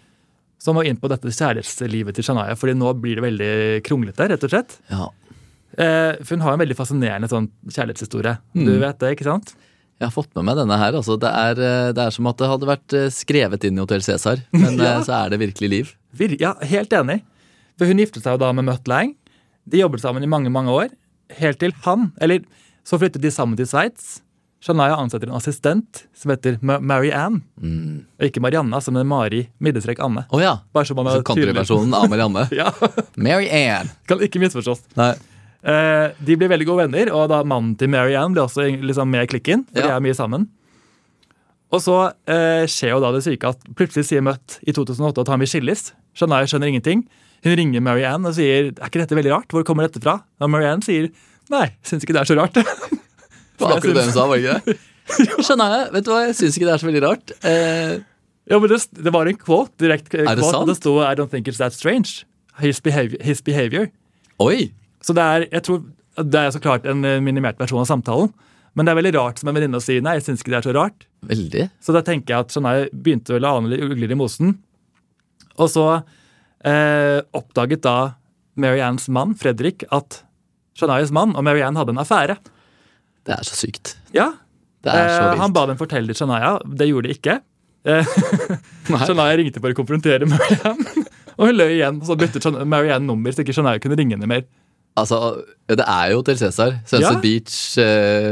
Speaker 1: Så må vi inn på dette kjærlighetslivet til Shania, fordi nå blir det veldig kronglete, rett og slett.
Speaker 2: ja.
Speaker 1: Eh, for hun har en veldig fascinerende sånn kjærlighetshistorie. Du vet det, ikke sant?
Speaker 2: Jeg har fått med meg denne her. Altså, det, er, eh, det er som at det hadde vært eh, skrevet inn i Hotell Cæsar, men
Speaker 1: Ja.
Speaker 2: eh, så er det virkelig liv.
Speaker 1: Vir ja, helt enig. For hun giftet seg jo da med Mutt Lang. De jobbet sammen i mange, mange år. Helt til han, eller så flyttet de sammen til Sveits. Shania ansetter en assistent som heter Ma- Mary Ann. Og ikke Marianna, som er Mari middestrek Anne.
Speaker 2: Å ja.
Speaker 1: Bare så man
Speaker 2: Så
Speaker 1: er tydelig.
Speaker 2: Altså, countryversjonen av Marianne.
Speaker 1: Ja,
Speaker 2: Mary Ann.
Speaker 1: kan ikke misforstås.
Speaker 2: Nei.
Speaker 1: Eh, de blir veldig gode venner, og da mannen til Mary Ann blir også liksom med i klikken. For
Speaker 2: Ja.
Speaker 1: de er mye sammen. Og så eh, skjer jo da det syke at plutselig sier Mutt i 2008 at han vil skilles. Shania skjønner ingenting. Hun ringer Mary Ann og sier er ikke dette veldig rart? Hvor kommer dette fra? Og Mary Ann sier nei, syns ikke det er så rart.
Speaker 2: Det var akkurat det hun sa, var det ikke det? Skjønner jeg. Vet du hva, jeg syns ikke det er så veldig rart. Eh,
Speaker 1: ja, men det, det var en quote, direkte
Speaker 2: det
Speaker 1: quote, og det
Speaker 2: sant?
Speaker 1: sto I don't think it's that strange. His behavior. His behavior.
Speaker 2: oi!
Speaker 1: Så det er, jeg tror, det er så klart en eh, minimert versjon av samtalen. Men det er veldig rart som en venninne å si nei, jeg syns ikke det er så rart.
Speaker 2: Veldig.
Speaker 1: Så da tenker jeg at Shania begynte vel å ane litt ugler i mosen. Og så eh, oppdaget da Mary Anns mann, Fredrik, at Shanias mann og Mary Ann hadde en affære.
Speaker 2: Det er så sykt.
Speaker 1: Ja,
Speaker 2: Det er så
Speaker 1: eh, Han
Speaker 2: vilt.
Speaker 1: ba dem fortelle det til Shania, det gjorde de ikke. Eh,
Speaker 2: Nei.
Speaker 1: Shania ringte for å konfrontere Mary Ann, og hun løy igjen. Og så byttet Shan- Mary Ann nummer, så ikke Shania kunne ringe henne mer.
Speaker 2: Altså, det er jo til Cæsar. Sunset
Speaker 1: Ja.
Speaker 2: Beach, eh,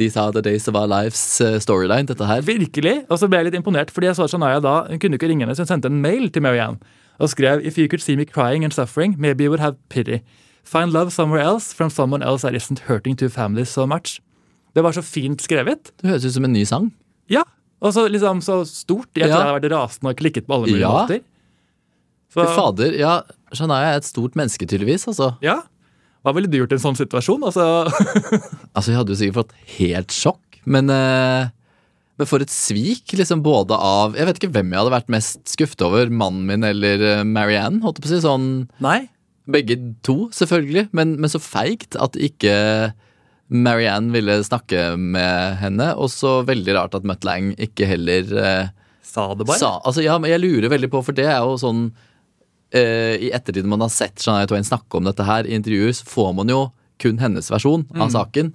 Speaker 2: These Are The Days Of Our Lives eh, storyline, dette her.
Speaker 1: Virkelig. Og så ble jeg litt imponert, fordi jeg så at Shania da hun kunne ikke ringe henne, så hun sendte en mail til Mary Ann og skrev If you could see me crying and suffering, maybe you would have pity. Find love somewhere else from someone else that isn't hurting two families so much. Det var så fint skrevet.
Speaker 2: Det høres ut som en ny sang.
Speaker 1: Ja. Og så liksom så stort. Jeg tror
Speaker 2: Ja.
Speaker 1: jeg hadde vært rasende og klikket på alle mulige
Speaker 2: Ja.
Speaker 1: måter.
Speaker 2: Fy
Speaker 1: Så,
Speaker 2: fader. Ja, Shania er et stort menneske, tydeligvis. Altså.
Speaker 1: ja. Hva ville du gjort i en sånn situasjon? Altså,
Speaker 2: altså, jeg hadde jo sikkert fått helt sjokk, men eh, men for et svik, liksom både av Jeg vet ikke hvem jeg hadde vært mest skuffet over. Mannen min eller eh, Marianne, holdt jeg på å si. Sånn
Speaker 1: nei.
Speaker 2: Begge to, selvfølgelig, men, men så feigt at ikke Marianne ville snakke med henne. Og så veldig rart at Mutt Lang ikke heller eh,
Speaker 1: Sa det bare?
Speaker 2: Sa, altså, ja, men jeg lurer veldig på, for det er jo sånn eh, I ettertid når man har sett Shania Twain snakke om dette her i intervjuer, så får man jo kun hennes versjon av
Speaker 1: Mm.
Speaker 2: saken.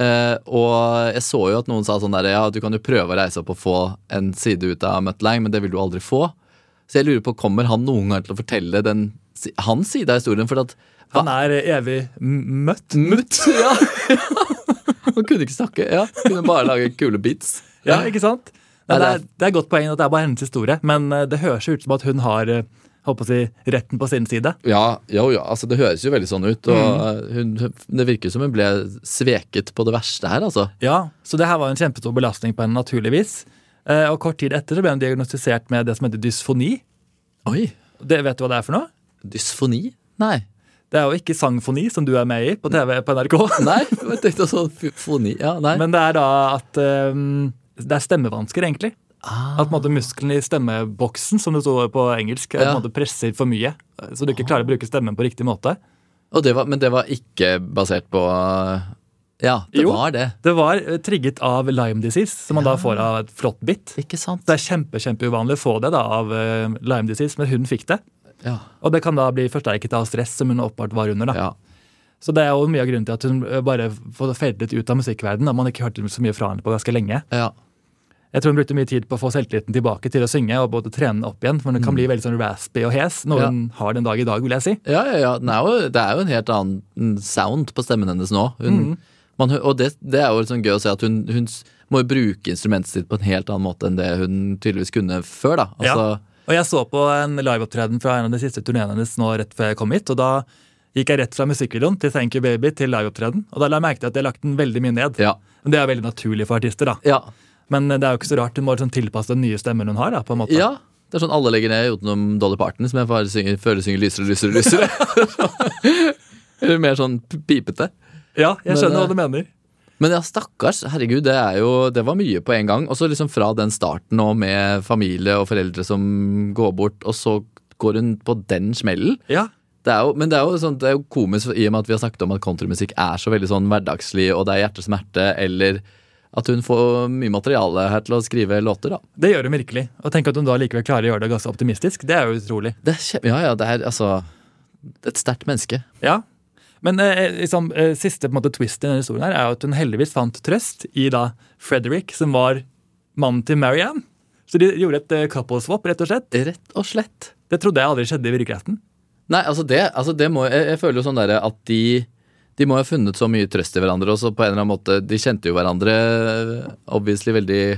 Speaker 2: Eh, og jeg så jo at noen sa sånn der Ja, du kan jo prøve å reise opp og få en side ut av Mutlang, men det vil du aldri få. Så jeg lurer på, kommer han noen gang til å fortelle den, si- hans side av historien? For at hva-
Speaker 1: Han er eh, evig m- møtt.
Speaker 2: Mutt! Ja. Han kunne ikke snakke. ja Kunne bare lage kule beats.
Speaker 1: Ja, ikke sant? Nei,
Speaker 2: Nei,
Speaker 1: det,
Speaker 2: det er-
Speaker 1: er, det er et godt poeng at det er bare hennes historie, men eh, det høres jo ut som at hun har eh, holdt på å si, retten på sin side.
Speaker 2: Ja, jo, ja, altså Det høres jo veldig sånn ut. Og hun, det virker som hun ble sveket på det verste her, altså.
Speaker 1: Ja, Så det her var en kjempestor belastning på henne, naturligvis. Eh, Og kort tid etter så ble hun diagnostisert med det som heter dysfoni.
Speaker 2: Oi,
Speaker 1: Det Vet du hva det er for noe?
Speaker 2: Dysfoni? Nei.
Speaker 1: Det er jo ikke sangfoni, som du er med i på TV på NRK.
Speaker 2: Nei, jeg tenkte sånn f- foni ja, nei.
Speaker 1: Men det er da at eh, det er stemmevansker, egentlig.
Speaker 2: ah,
Speaker 1: At på en måte, musklene i stemmeboksen, som det står på engelsk, eh, på en måte, presser for mye. eh, Så du ikke klarer å bruke stemmen på riktig måte.
Speaker 2: og det var, men det var ikke basert på Ja, det
Speaker 1: Jo.
Speaker 2: var det.
Speaker 1: Det var eh, trigget av Lyme disease, som man da får av et flott bitt.
Speaker 2: Ikke sant?
Speaker 1: Det er kjempe, kjempeuvanlig å få det da av eh, Lyme disease, men hun fikk det.
Speaker 2: Ja.
Speaker 1: Og det kan da bli forsterket av stress, som hun åpenbart var under. da.
Speaker 2: ja.
Speaker 1: Så det er jo mye av grunnen til at hun eh, bare får feltet ut av musikkverdenen. og Man har ikke hørt så mye fra henne på ganske lenge.
Speaker 2: ja.
Speaker 1: Jeg tror hun brukte mye tid på å få selvtilliten tilbake til å synge og både trene den opp igjen, for hun kan bli veldig sånn raspy og hes, noe
Speaker 2: Mm. Ja.
Speaker 1: hun har den dag i dag, vil jeg si.
Speaker 2: Ja, ja, ja. Den er jo, det er jo en helt annen sound på stemmen hennes nå. Hun, man hø- og det, det er jo litt sånn gøy å se at hun, hun s- må jo bruke instrumentet sitt på en helt annen måte enn det hun tydeligvis kunne før. da. Altså,
Speaker 1: Ja. Og jeg så på en liveopptreden fra en av de siste turneene hennes nå rett før jeg kom hit, og da gikk jeg rett fra musikkvideoen til Thank You Baby til liveopptreden, og da la jeg merke til at jeg har lagt den veldig mye ned.
Speaker 2: ja.
Speaker 1: Men Det er veldig naturlig for artister, da.
Speaker 2: Ja.
Speaker 1: Men det er jo ikke så rart. Hun må liksom tilpasse den nye stemmen hun har. da, på en måte.
Speaker 2: ja. Det er sånn alle legger ned utenom Dolly Parton, som jeg bare synger, føler synger lysere og lysere og lysere. Eller mer sånn p- pipete.
Speaker 1: Ja, jeg
Speaker 2: Men,
Speaker 1: skjønner
Speaker 2: eh,
Speaker 1: hva du mener.
Speaker 2: Men ja, stakkars. Herregud, det, er jo, det var mye på en gang. Og så liksom fra den starten og med familie og foreldre som går bort, og så går hun på den smellen.
Speaker 1: Ja,
Speaker 2: Det er jo, men det er, jo sånn, det er jo komisk i og med at vi har snakket om at countrymusikk er så veldig sånn hverdagslig, og det er hjertesmerte, eller at hun får mye materiale her til å skrive låter, da.
Speaker 1: Det gjør hun virkelig. Og tenk at hun da likevel klarer å gjøre det ganske optimistisk. Det er jo utrolig.
Speaker 2: Det er, kjem- ja, ja, det er altså et sterkt menneske.
Speaker 1: Ja. Men eh, liksom, eh, siste på en måte, twist i denne historien her er jo at hun heldigvis fant trøst i da Frederick, som var mannen til Marianne. Så de gjorde et eh, couple swap, rett og slett.
Speaker 2: Rett og slett.
Speaker 1: Det trodde jeg aldri skjedde i virkeligheten.
Speaker 2: Nei, altså det, altså det må jeg, jeg føler jo sånn derre at de de må ha funnet så mye trøst i hverandre. Og så på en eller annen måte, De kjente jo hverandre eh, obviously veldig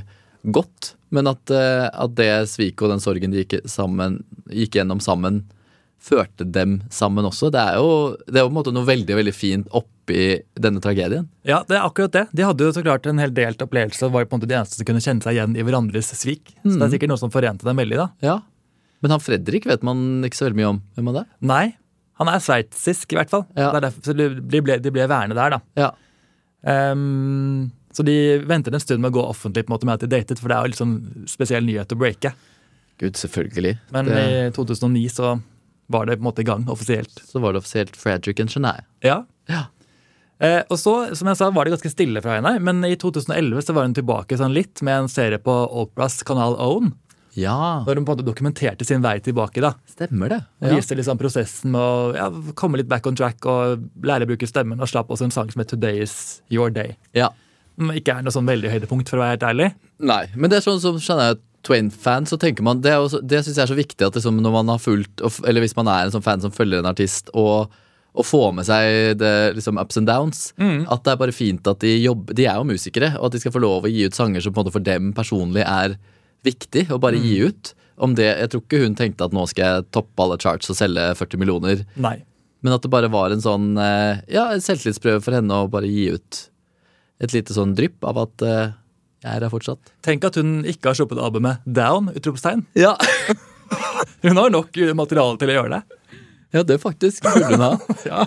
Speaker 2: godt. Men at, eh, at det sviket og den sorgen de gikk, sammen, gikk gjennom sammen, førte dem sammen også. Det er jo det er jo på en måte noe veldig veldig fint oppi denne tragedien.
Speaker 1: Ja, det er akkurat det. De hadde jo så klart en helt delt opplevelse og var jo på en måte de eneste som kunne kjenne seg igjen i hverandres svik. Så det er sikkert noe som forente dem veldig, da.
Speaker 2: Ja. Men han Fredrik vet man ikke så veldig mye om. Hvem er det?
Speaker 1: Nei, han er sveitsisk i hvert fall.
Speaker 2: Ja.
Speaker 1: Det er derfor, så de, de, ble, de ble værende der, da.
Speaker 2: Ja.
Speaker 1: Ehm, så de ventet en stund med å gå offentlig på en måte med at de datet, for det er jo litt sånn spesiell nyhet å breake.
Speaker 2: Gud, selvfølgelig. eh,
Speaker 1: Men
Speaker 2: det,
Speaker 1: i 2009 så var det på en måte i gang offisielt.
Speaker 2: Så var det offisielt Fredrik and Shania.
Speaker 1: Ja.
Speaker 2: Ja.
Speaker 1: Eh, og så, som jeg sa, var det ganske stille fra henne, men i 2011 så var hun tilbake sånn litt med en serie på Oprahs kanal Own,
Speaker 2: ja.
Speaker 1: hvor hun på en måte dokumenterte sin vei tilbake. da.
Speaker 2: Stemmer det.
Speaker 1: Og Viste liksom prosessen med å ja, komme litt back on track og lære å bruke stemmen, og slapp også en sang som het Today is your day.
Speaker 2: ja.
Speaker 1: Som ikke er noe sånn veldig høydepunkt, for å være helt ærlig.
Speaker 2: Nei, men det er sånn som Shania Twain-fan, så tenker man Det, er jo så- det syns jeg er så viktig at liksom når man har fulgt og f- Eller hvis man er en sånn fan som følger en artist, og, og får med seg det, liksom ups and downs At det er bare fint at de jobber De er jo musikere, og at de skal få lov å gi ut sanger som på en måte for dem personlig er viktig å bare gi ut. Om det, Jeg tror ikke hun tenkte at nå skal jeg toppe alle charts og selge 40 millioner.
Speaker 1: Nei.
Speaker 2: Men at det bare var en sånn eh, ja, en selvtillitsprøve for henne å bare gi ut et lite sånn drypp av at eh, jeg er her fortsatt.
Speaker 1: Tenk at hun ikke har sluppet albumet Down! utropstegn.
Speaker 2: Ja,
Speaker 1: Hun har nok materiale til å gjøre det.
Speaker 2: Ja, det faktisk burde hun ha.
Speaker 1: Ja.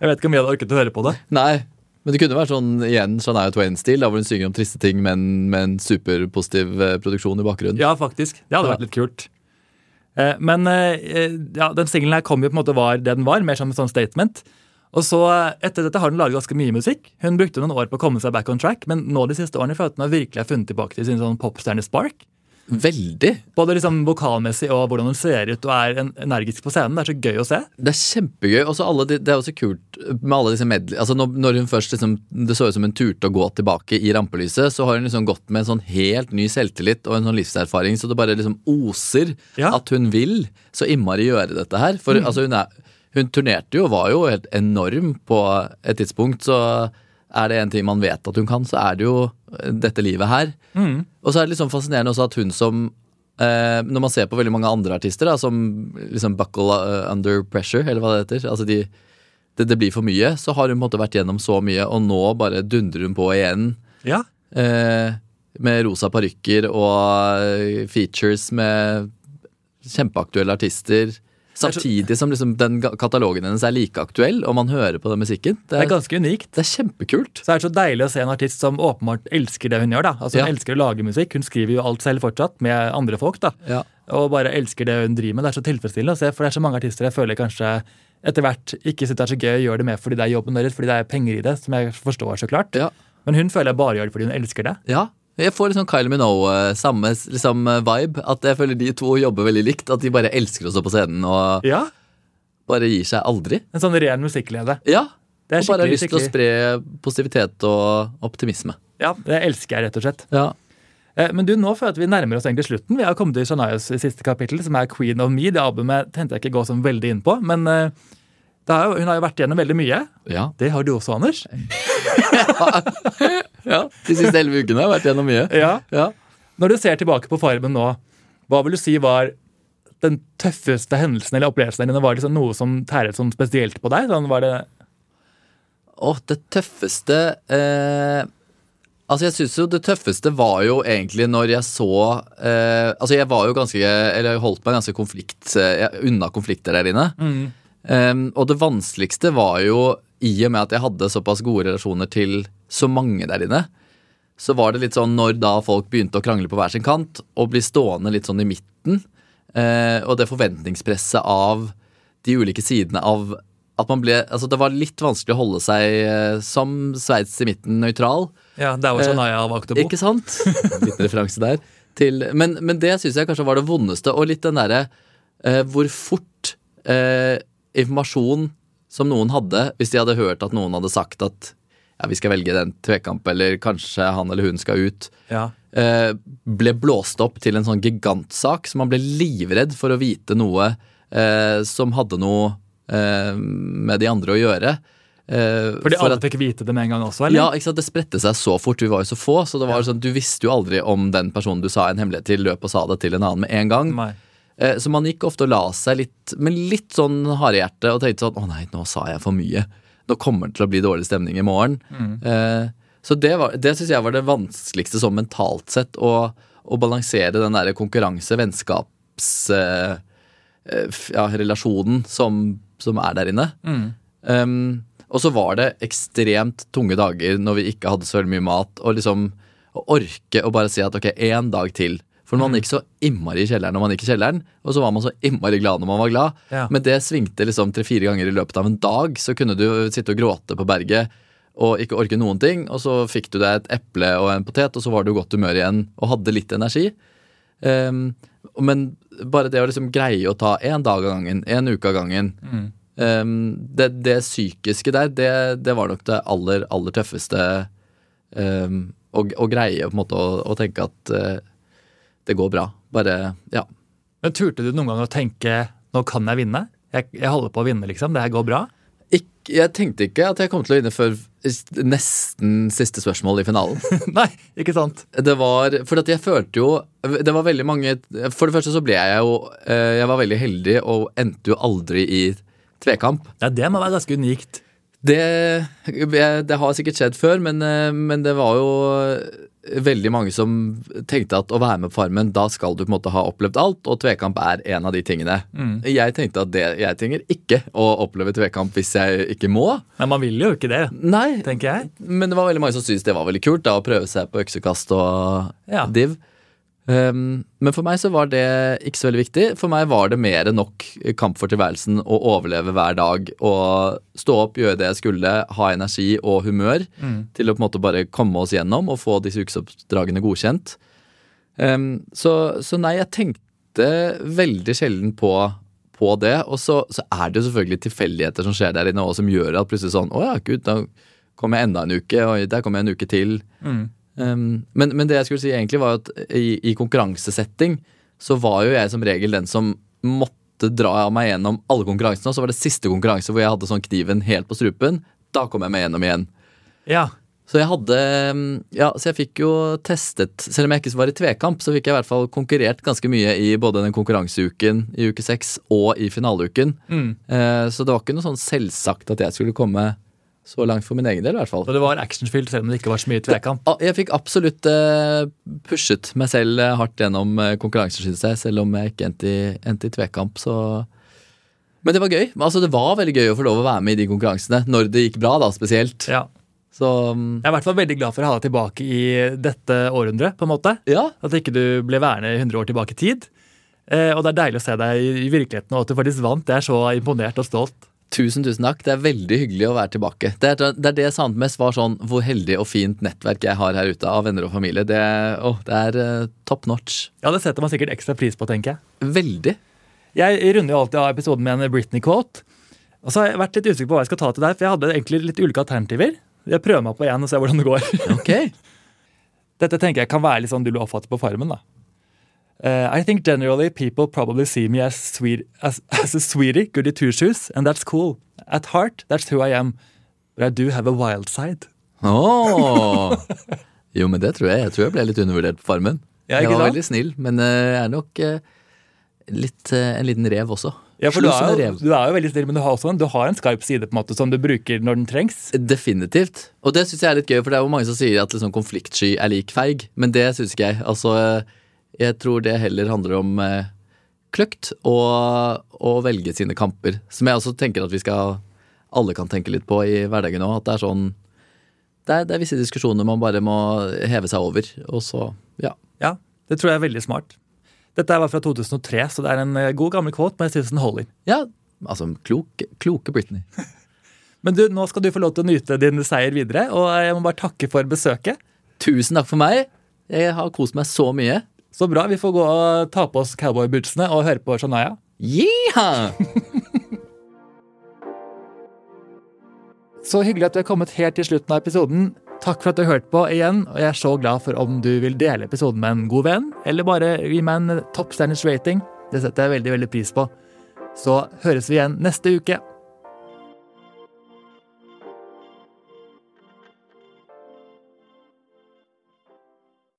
Speaker 1: Jeg vet ikke om jeg hadde orket å høre på det.
Speaker 2: Nei, men det kunne vært sånn igjen Shania Twain-stil, da hvor hun synger om triste ting, men med en superpositiv eh, produksjon i bakgrunnen.
Speaker 1: Ja, faktisk. Det hadde
Speaker 2: Ja.
Speaker 1: vært litt kult. Eh, Men eh, ja, den singelen her kom jo på en måte var det den var, mer som en sånn statement. Og så eh, Etter dette har hun laget ganske mye musikk. Hun brukte noen år på å komme seg back on track, men nå de siste årene føler jeg at hun har virkelig funnet tilbake til sin sånn popstjerne-spark.
Speaker 2: Veldig.
Speaker 1: Både liksom vokalmessig og hvordan hun ser ut og er en- energisk på scenen. Det er så gøy å se.
Speaker 2: Det er kjempegøy. Også alle de, det er også kult med alle disse medley... Altså når, når hun først liksom, Det så ut som hun turte å gå tilbake i rampelyset, så har hun liksom gått med en sånn helt ny selvtillit og en sånn livserfaring, så det bare liksom oser
Speaker 1: Ja.
Speaker 2: at hun vil så innmari gjøre dette her. For altså, hun, er, hun turnerte jo og var jo helt enorm på et tidspunkt, så er det en ting man vet at hun kan, så er det jo dette livet her. Og så er det litt sånn fascinerende også at hun som eh, Når man ser på veldig mange andre artister, da, som liksom buckle eh, under pressure, eller hva det heter altså de, det, det blir for mye. Så har hun på en måte vært gjennom så mye, og nå bare dundrer hun på igjen.
Speaker 1: Ja.
Speaker 2: Eh, med rosa parykker og eh, features med kjempeaktuelle artister.
Speaker 1: er så-
Speaker 2: Samtidig som liksom den ga- katalogen hennes er like aktuell, og man hører på den musikken.
Speaker 1: Det
Speaker 2: Det
Speaker 1: er
Speaker 2: er,
Speaker 1: ganske unikt.
Speaker 2: det er kjempekult.
Speaker 1: Eh, Så er det så deilig å se en artist som åpenbart elsker det hun gjør. da. Altså Hun
Speaker 2: Ja.
Speaker 1: elsker å lage musikk, hun skriver jo alt selv fortsatt med andre folk. da.
Speaker 2: Ja.
Speaker 1: Og bare elsker det hun driver med. Det er så tilfredsstillende å se, for det er så mange artister jeg føler kanskje etter hvert ikke syns det er så gøy å gjøre det med fordi det er jobben deres, fordi det er penger i det, som jeg forstår så klart.
Speaker 2: Ja.
Speaker 1: Men hun føler jeg bare gjør det fordi hun elsker det.
Speaker 2: Ja, jeg får litt sånn Kylie Minogue eh, samme s- liksom, eh, vibe. At jeg føler de to jobber veldig likt. At de bare elsker å stå på scenen og
Speaker 1: Ja,
Speaker 2: bare gir seg aldri.
Speaker 1: En sånn ren musikklede.
Speaker 2: Ja,
Speaker 1: Det er
Speaker 2: Og bare har
Speaker 1: skikkelig,
Speaker 2: lyst til å
Speaker 1: skikkelig.
Speaker 2: spre positivitet og optimisme.
Speaker 1: Ja, Det elsker jeg, rett og slett.
Speaker 2: Ja,
Speaker 1: Eh, Men du, nå føler jeg at vi nærmer oss egentlig slutten. Vi har kommet til Shanayas siste kapittel, som er Queen of Me. Det albumet tenkte jeg ikke gå sånn veldig inn på, men eh, det har jo, hun har jo vært igjennom veldig mye.
Speaker 2: ja.
Speaker 1: Det har du også, Anders.
Speaker 2: De siste elleve ukene har jeg vært gjennom mye.
Speaker 1: Ja.
Speaker 2: Ja.
Speaker 1: Når du ser tilbake på Farmen nå, hva vil du si var den tøffeste hendelsen eller opplevelsen din? Var det liksom noe som tæret sånn spesielt på deg? Sånn var det
Speaker 2: Åh, det tøffeste eh, Altså, jeg syns jo det tøffeste var jo egentlig når jeg så eh, Altså, jeg var jo ganske Eller jeg holdt meg ganske konflikt eh, unna konflikter der inne. Eh, og det vanskeligste var jo, i og med at jeg hadde såpass gode relasjoner til så mange der inne, så var det litt sånn når da folk begynte å krangle på hver sin kant, og bli stående litt sånn i midten, eh, og det forventningspresset av de ulike sidene av at man ble, altså Det var litt vanskelig å holde seg eh, som Sveits i midten nøytral.
Speaker 1: Ja, der
Speaker 2: Eh,
Speaker 1: Shanaya valgte å bo.
Speaker 2: Ikke sant? En Liten referanse der. Til, men, men det syns jeg kanskje var det vondeste, og litt den derre eh, hvor fort eh, informasjon som noen hadde, hvis de hadde hørt at noen hadde sagt at ja, vi skal velge den tvekamp, eller kanskje han eller hun skal ut,
Speaker 1: Ja.
Speaker 2: eh, ble blåst opp til en sånn gigantsak, så man ble livredd for å vite noe eh, som hadde noe eh, med de andre å gjøre. Eh,
Speaker 1: Fordi
Speaker 2: for
Speaker 1: alle
Speaker 2: at-
Speaker 1: fikk vite det med en gang også, eller?
Speaker 2: ja, ikke sant? Det spredte seg så fort. Vi var jo så få. Så det var jo sånn, du visste jo aldri om den personen du sa en hemmelighet til, løp og sa det til en annen med en gang.
Speaker 1: Nei.
Speaker 2: Eh, Så man gikk ofte og la seg litt med litt sånn harehjerte og tenkte sånn Å nei, nå sa jeg for mye. Nå kommer det til å bli dårlig stemning i morgen. Eh, Så det, var- det syns jeg var det vanskeligste sånn mentalt sett, å, å balansere den derre konkurranse-vennskaps-relasjonen eh, ja, relasjonen som, som er der inne. Um, og så var det ekstremt tunge dager når vi ikke hadde så veldig mye mat. Og liksom å orke å bare si at ok, én dag til. For man gikk så innmari i kjelleren når man gikk i kjelleren, og så var man så innmari glad når man var glad.
Speaker 1: Ja.
Speaker 2: Men det svingte liksom tre-fire ganger i løpet av en dag. Så kunne du sitte og gråte på berget og ikke orke noen ting. Og så fikk du deg et eple og en potet, og så var du i godt humør igjen og hadde litt energi. Um, men bare det å liksom greie å ta én dag av gangen, én uke av gangen um, det, det psykiske der, det, det var nok det aller, aller tøffeste um, å, å greie på en måte å, å tenke at eh, det går bra. Bare Ja.
Speaker 1: Men turte du noen gang å tenke 'nå kan jeg vinne'? Jeg, jeg holder på å vinne, liksom. Det her går bra.
Speaker 2: Ikk- jeg tenkte ikke at jeg kom til å vinne før s- nesten siste spørsmål i finalen.
Speaker 1: Nei, ikke sant?
Speaker 2: det var For at jeg følte jo Det var veldig mange For det første så ble jeg jo eh, Jeg var veldig heldig og endte jo aldri i tvekamp.
Speaker 1: Ja, det må være ganske unikt.
Speaker 2: Det, jeg- det har sikkert skjedd før, men, eh, men det var jo eh, veldig mange som tenkte at å være med på Farmen, da skal du på en måte ha opplevd alt, og tvekamp er en av de tingene. Jeg tenkte at det, jeg trenger ikke å oppleve tvekamp hvis jeg ikke må.
Speaker 1: Men man vil jo ikke det,
Speaker 2: Nei,
Speaker 1: tenker jeg.
Speaker 2: men det var veldig mange som syntes det var veldig kult da, å prøve seg på øksekast og
Speaker 1: Ja.
Speaker 2: div. Um, men for meg så var det ikke så veldig viktig. For meg var det mer enn nok kamp for tilværelsen å overleve hver dag. Og stå opp, gjøre det jeg skulle, ha energi og humør til å på en måte bare komme oss gjennom og få disse ukesoppdragene godkjent. Ehm, så, så nei, jeg tenkte veldig sjelden på, på det. Og så, så er det jo selvfølgelig tilfeldigheter som skjer der inne, og som gjør at plutselig sånn Å ja, gud, da kom jeg enda en uke. Oi, der kom jeg en uke til. Ehm, men, men det jeg skulle si egentlig, var at i, i konkurransesetting så var jo jeg som regel den som måtte dra meg gjennom alle konkurransene. Og så var det siste konkurranse hvor jeg hadde sånn kniven helt på strupen. Da kom jeg meg gjennom igjen.
Speaker 1: Ja.
Speaker 2: Så jeg hadde ehm, Ja, så jeg fikk jo testet Selv om jeg ikke var i tvekamp, så fikk jeg i hvert fall konkurrert ganske mye i både den konkurranseuken i uke seks og i finaleuken.
Speaker 1: Mm.
Speaker 2: Eh, Så det var ikke noe sånn selvsagt at jeg skulle komme så langt for min egen del, i hvert fall.
Speaker 1: Og det var actionfylt, selv om det ikke var så mye tvekamp.
Speaker 2: Ah, Jeg fikk absolutt eh, pushet meg selv eh, hardt gjennom eh, konkurranser, synes jeg, selv om jeg ikke endte i, endte i tvekamp, så Men det var gøy. Men, Altså, det var veldig gøy å få lov å være med i de konkurransene, når det gikk bra, da, spesielt.
Speaker 1: Ja.
Speaker 2: Så mm,
Speaker 1: Jeg er i hvert fall veldig glad for å ha deg tilbake i dette århundret. på en måte.
Speaker 2: ja.
Speaker 1: At ikke du ble værende 100 år tilbake i tid. Eh, og det er deilig å se deg i, i virkeligheten, og at du faktisk vant. Jeg er så imponert og stolt.
Speaker 2: Tusen, tusen takk. Det er veldig hyggelig å være tilbake. Det er det, er det jeg savnet mest, var sånn hvor heldig og fint nettverk jeg har her ute av venner og familie. Det, åh, det er eh, top notch.
Speaker 1: Ja, Det setter man sikkert ekstra pris på, tenker jeg.
Speaker 2: Veldig.
Speaker 1: Jeg runder jo alltid av episoden med en Britney-quote. Og så har jeg vært litt usikker på hva jeg skal ta til deg, for jeg hadde egentlig litt ulike alternativer. Jeg prøver meg på én og ser hvordan det går.
Speaker 2: Ok.
Speaker 1: Dette tenker jeg kan være litt sånn du ble oppfattet på Farmen, da. Eh, I think generally people probably see me as, sweet, as, as a sweetie, goody two-shoes, and that's cool. At heart, that's who I am. But I do have a wild side.
Speaker 2: Åh. Jo, men det tror jeg. Jeg tror jeg ble litt undervurdert på Farmen.
Speaker 1: Ja, ikke
Speaker 2: jeg var
Speaker 1: sant?
Speaker 2: veldig snill, men eh, jeg er nok eh, litt, eh, en liten rev også.
Speaker 1: Ja, for du
Speaker 2: Slo som
Speaker 1: er,
Speaker 2: en
Speaker 1: jo,
Speaker 2: rev.
Speaker 1: du er jo veldig snill, men du har, også en, du har en skarp side på en måte som du bruker når den trengs.
Speaker 2: Definitivt. Og det syns jeg er litt gøy, for det er jo mange som sier at liksom, konfliktsky er lik feig, men det syns ikke jeg. Altså, jeg tror det heller handler om eh, kløkt og å velge sine kamper. Som jeg også tenker at vi skal alle kan tenke litt på i hverdagen òg. At det er sånn det er, det er visse diskusjoner man bare må heve seg over, og så ja.
Speaker 1: Ja, det tror jeg er veldig smart. Dette er bare fra 2003, så det er en eh, god gammel quote, men jeg synes den holder.
Speaker 2: Ja, altså klok, kloke Britney.
Speaker 1: Men du, nå skal du få lov til å nyte din seier videre, og jeg må bare takke for besøket.
Speaker 2: Tusen takk for meg. Jeg har kost meg så mye.
Speaker 1: Så bra, vi får gå og ta på oss cowboybootsene og høre på Shania.
Speaker 2: Yeehaw!
Speaker 1: Så hyggelig at du er kommet helt til slutten av episoden. Takk for at du hørte på igjen, og jeg er så glad for om du vil dele episoden med en god venn, eller bare gi meg en toppstjerners rating. Det setter jeg veldig, veldig pris på. Så høres vi igjen neste uke.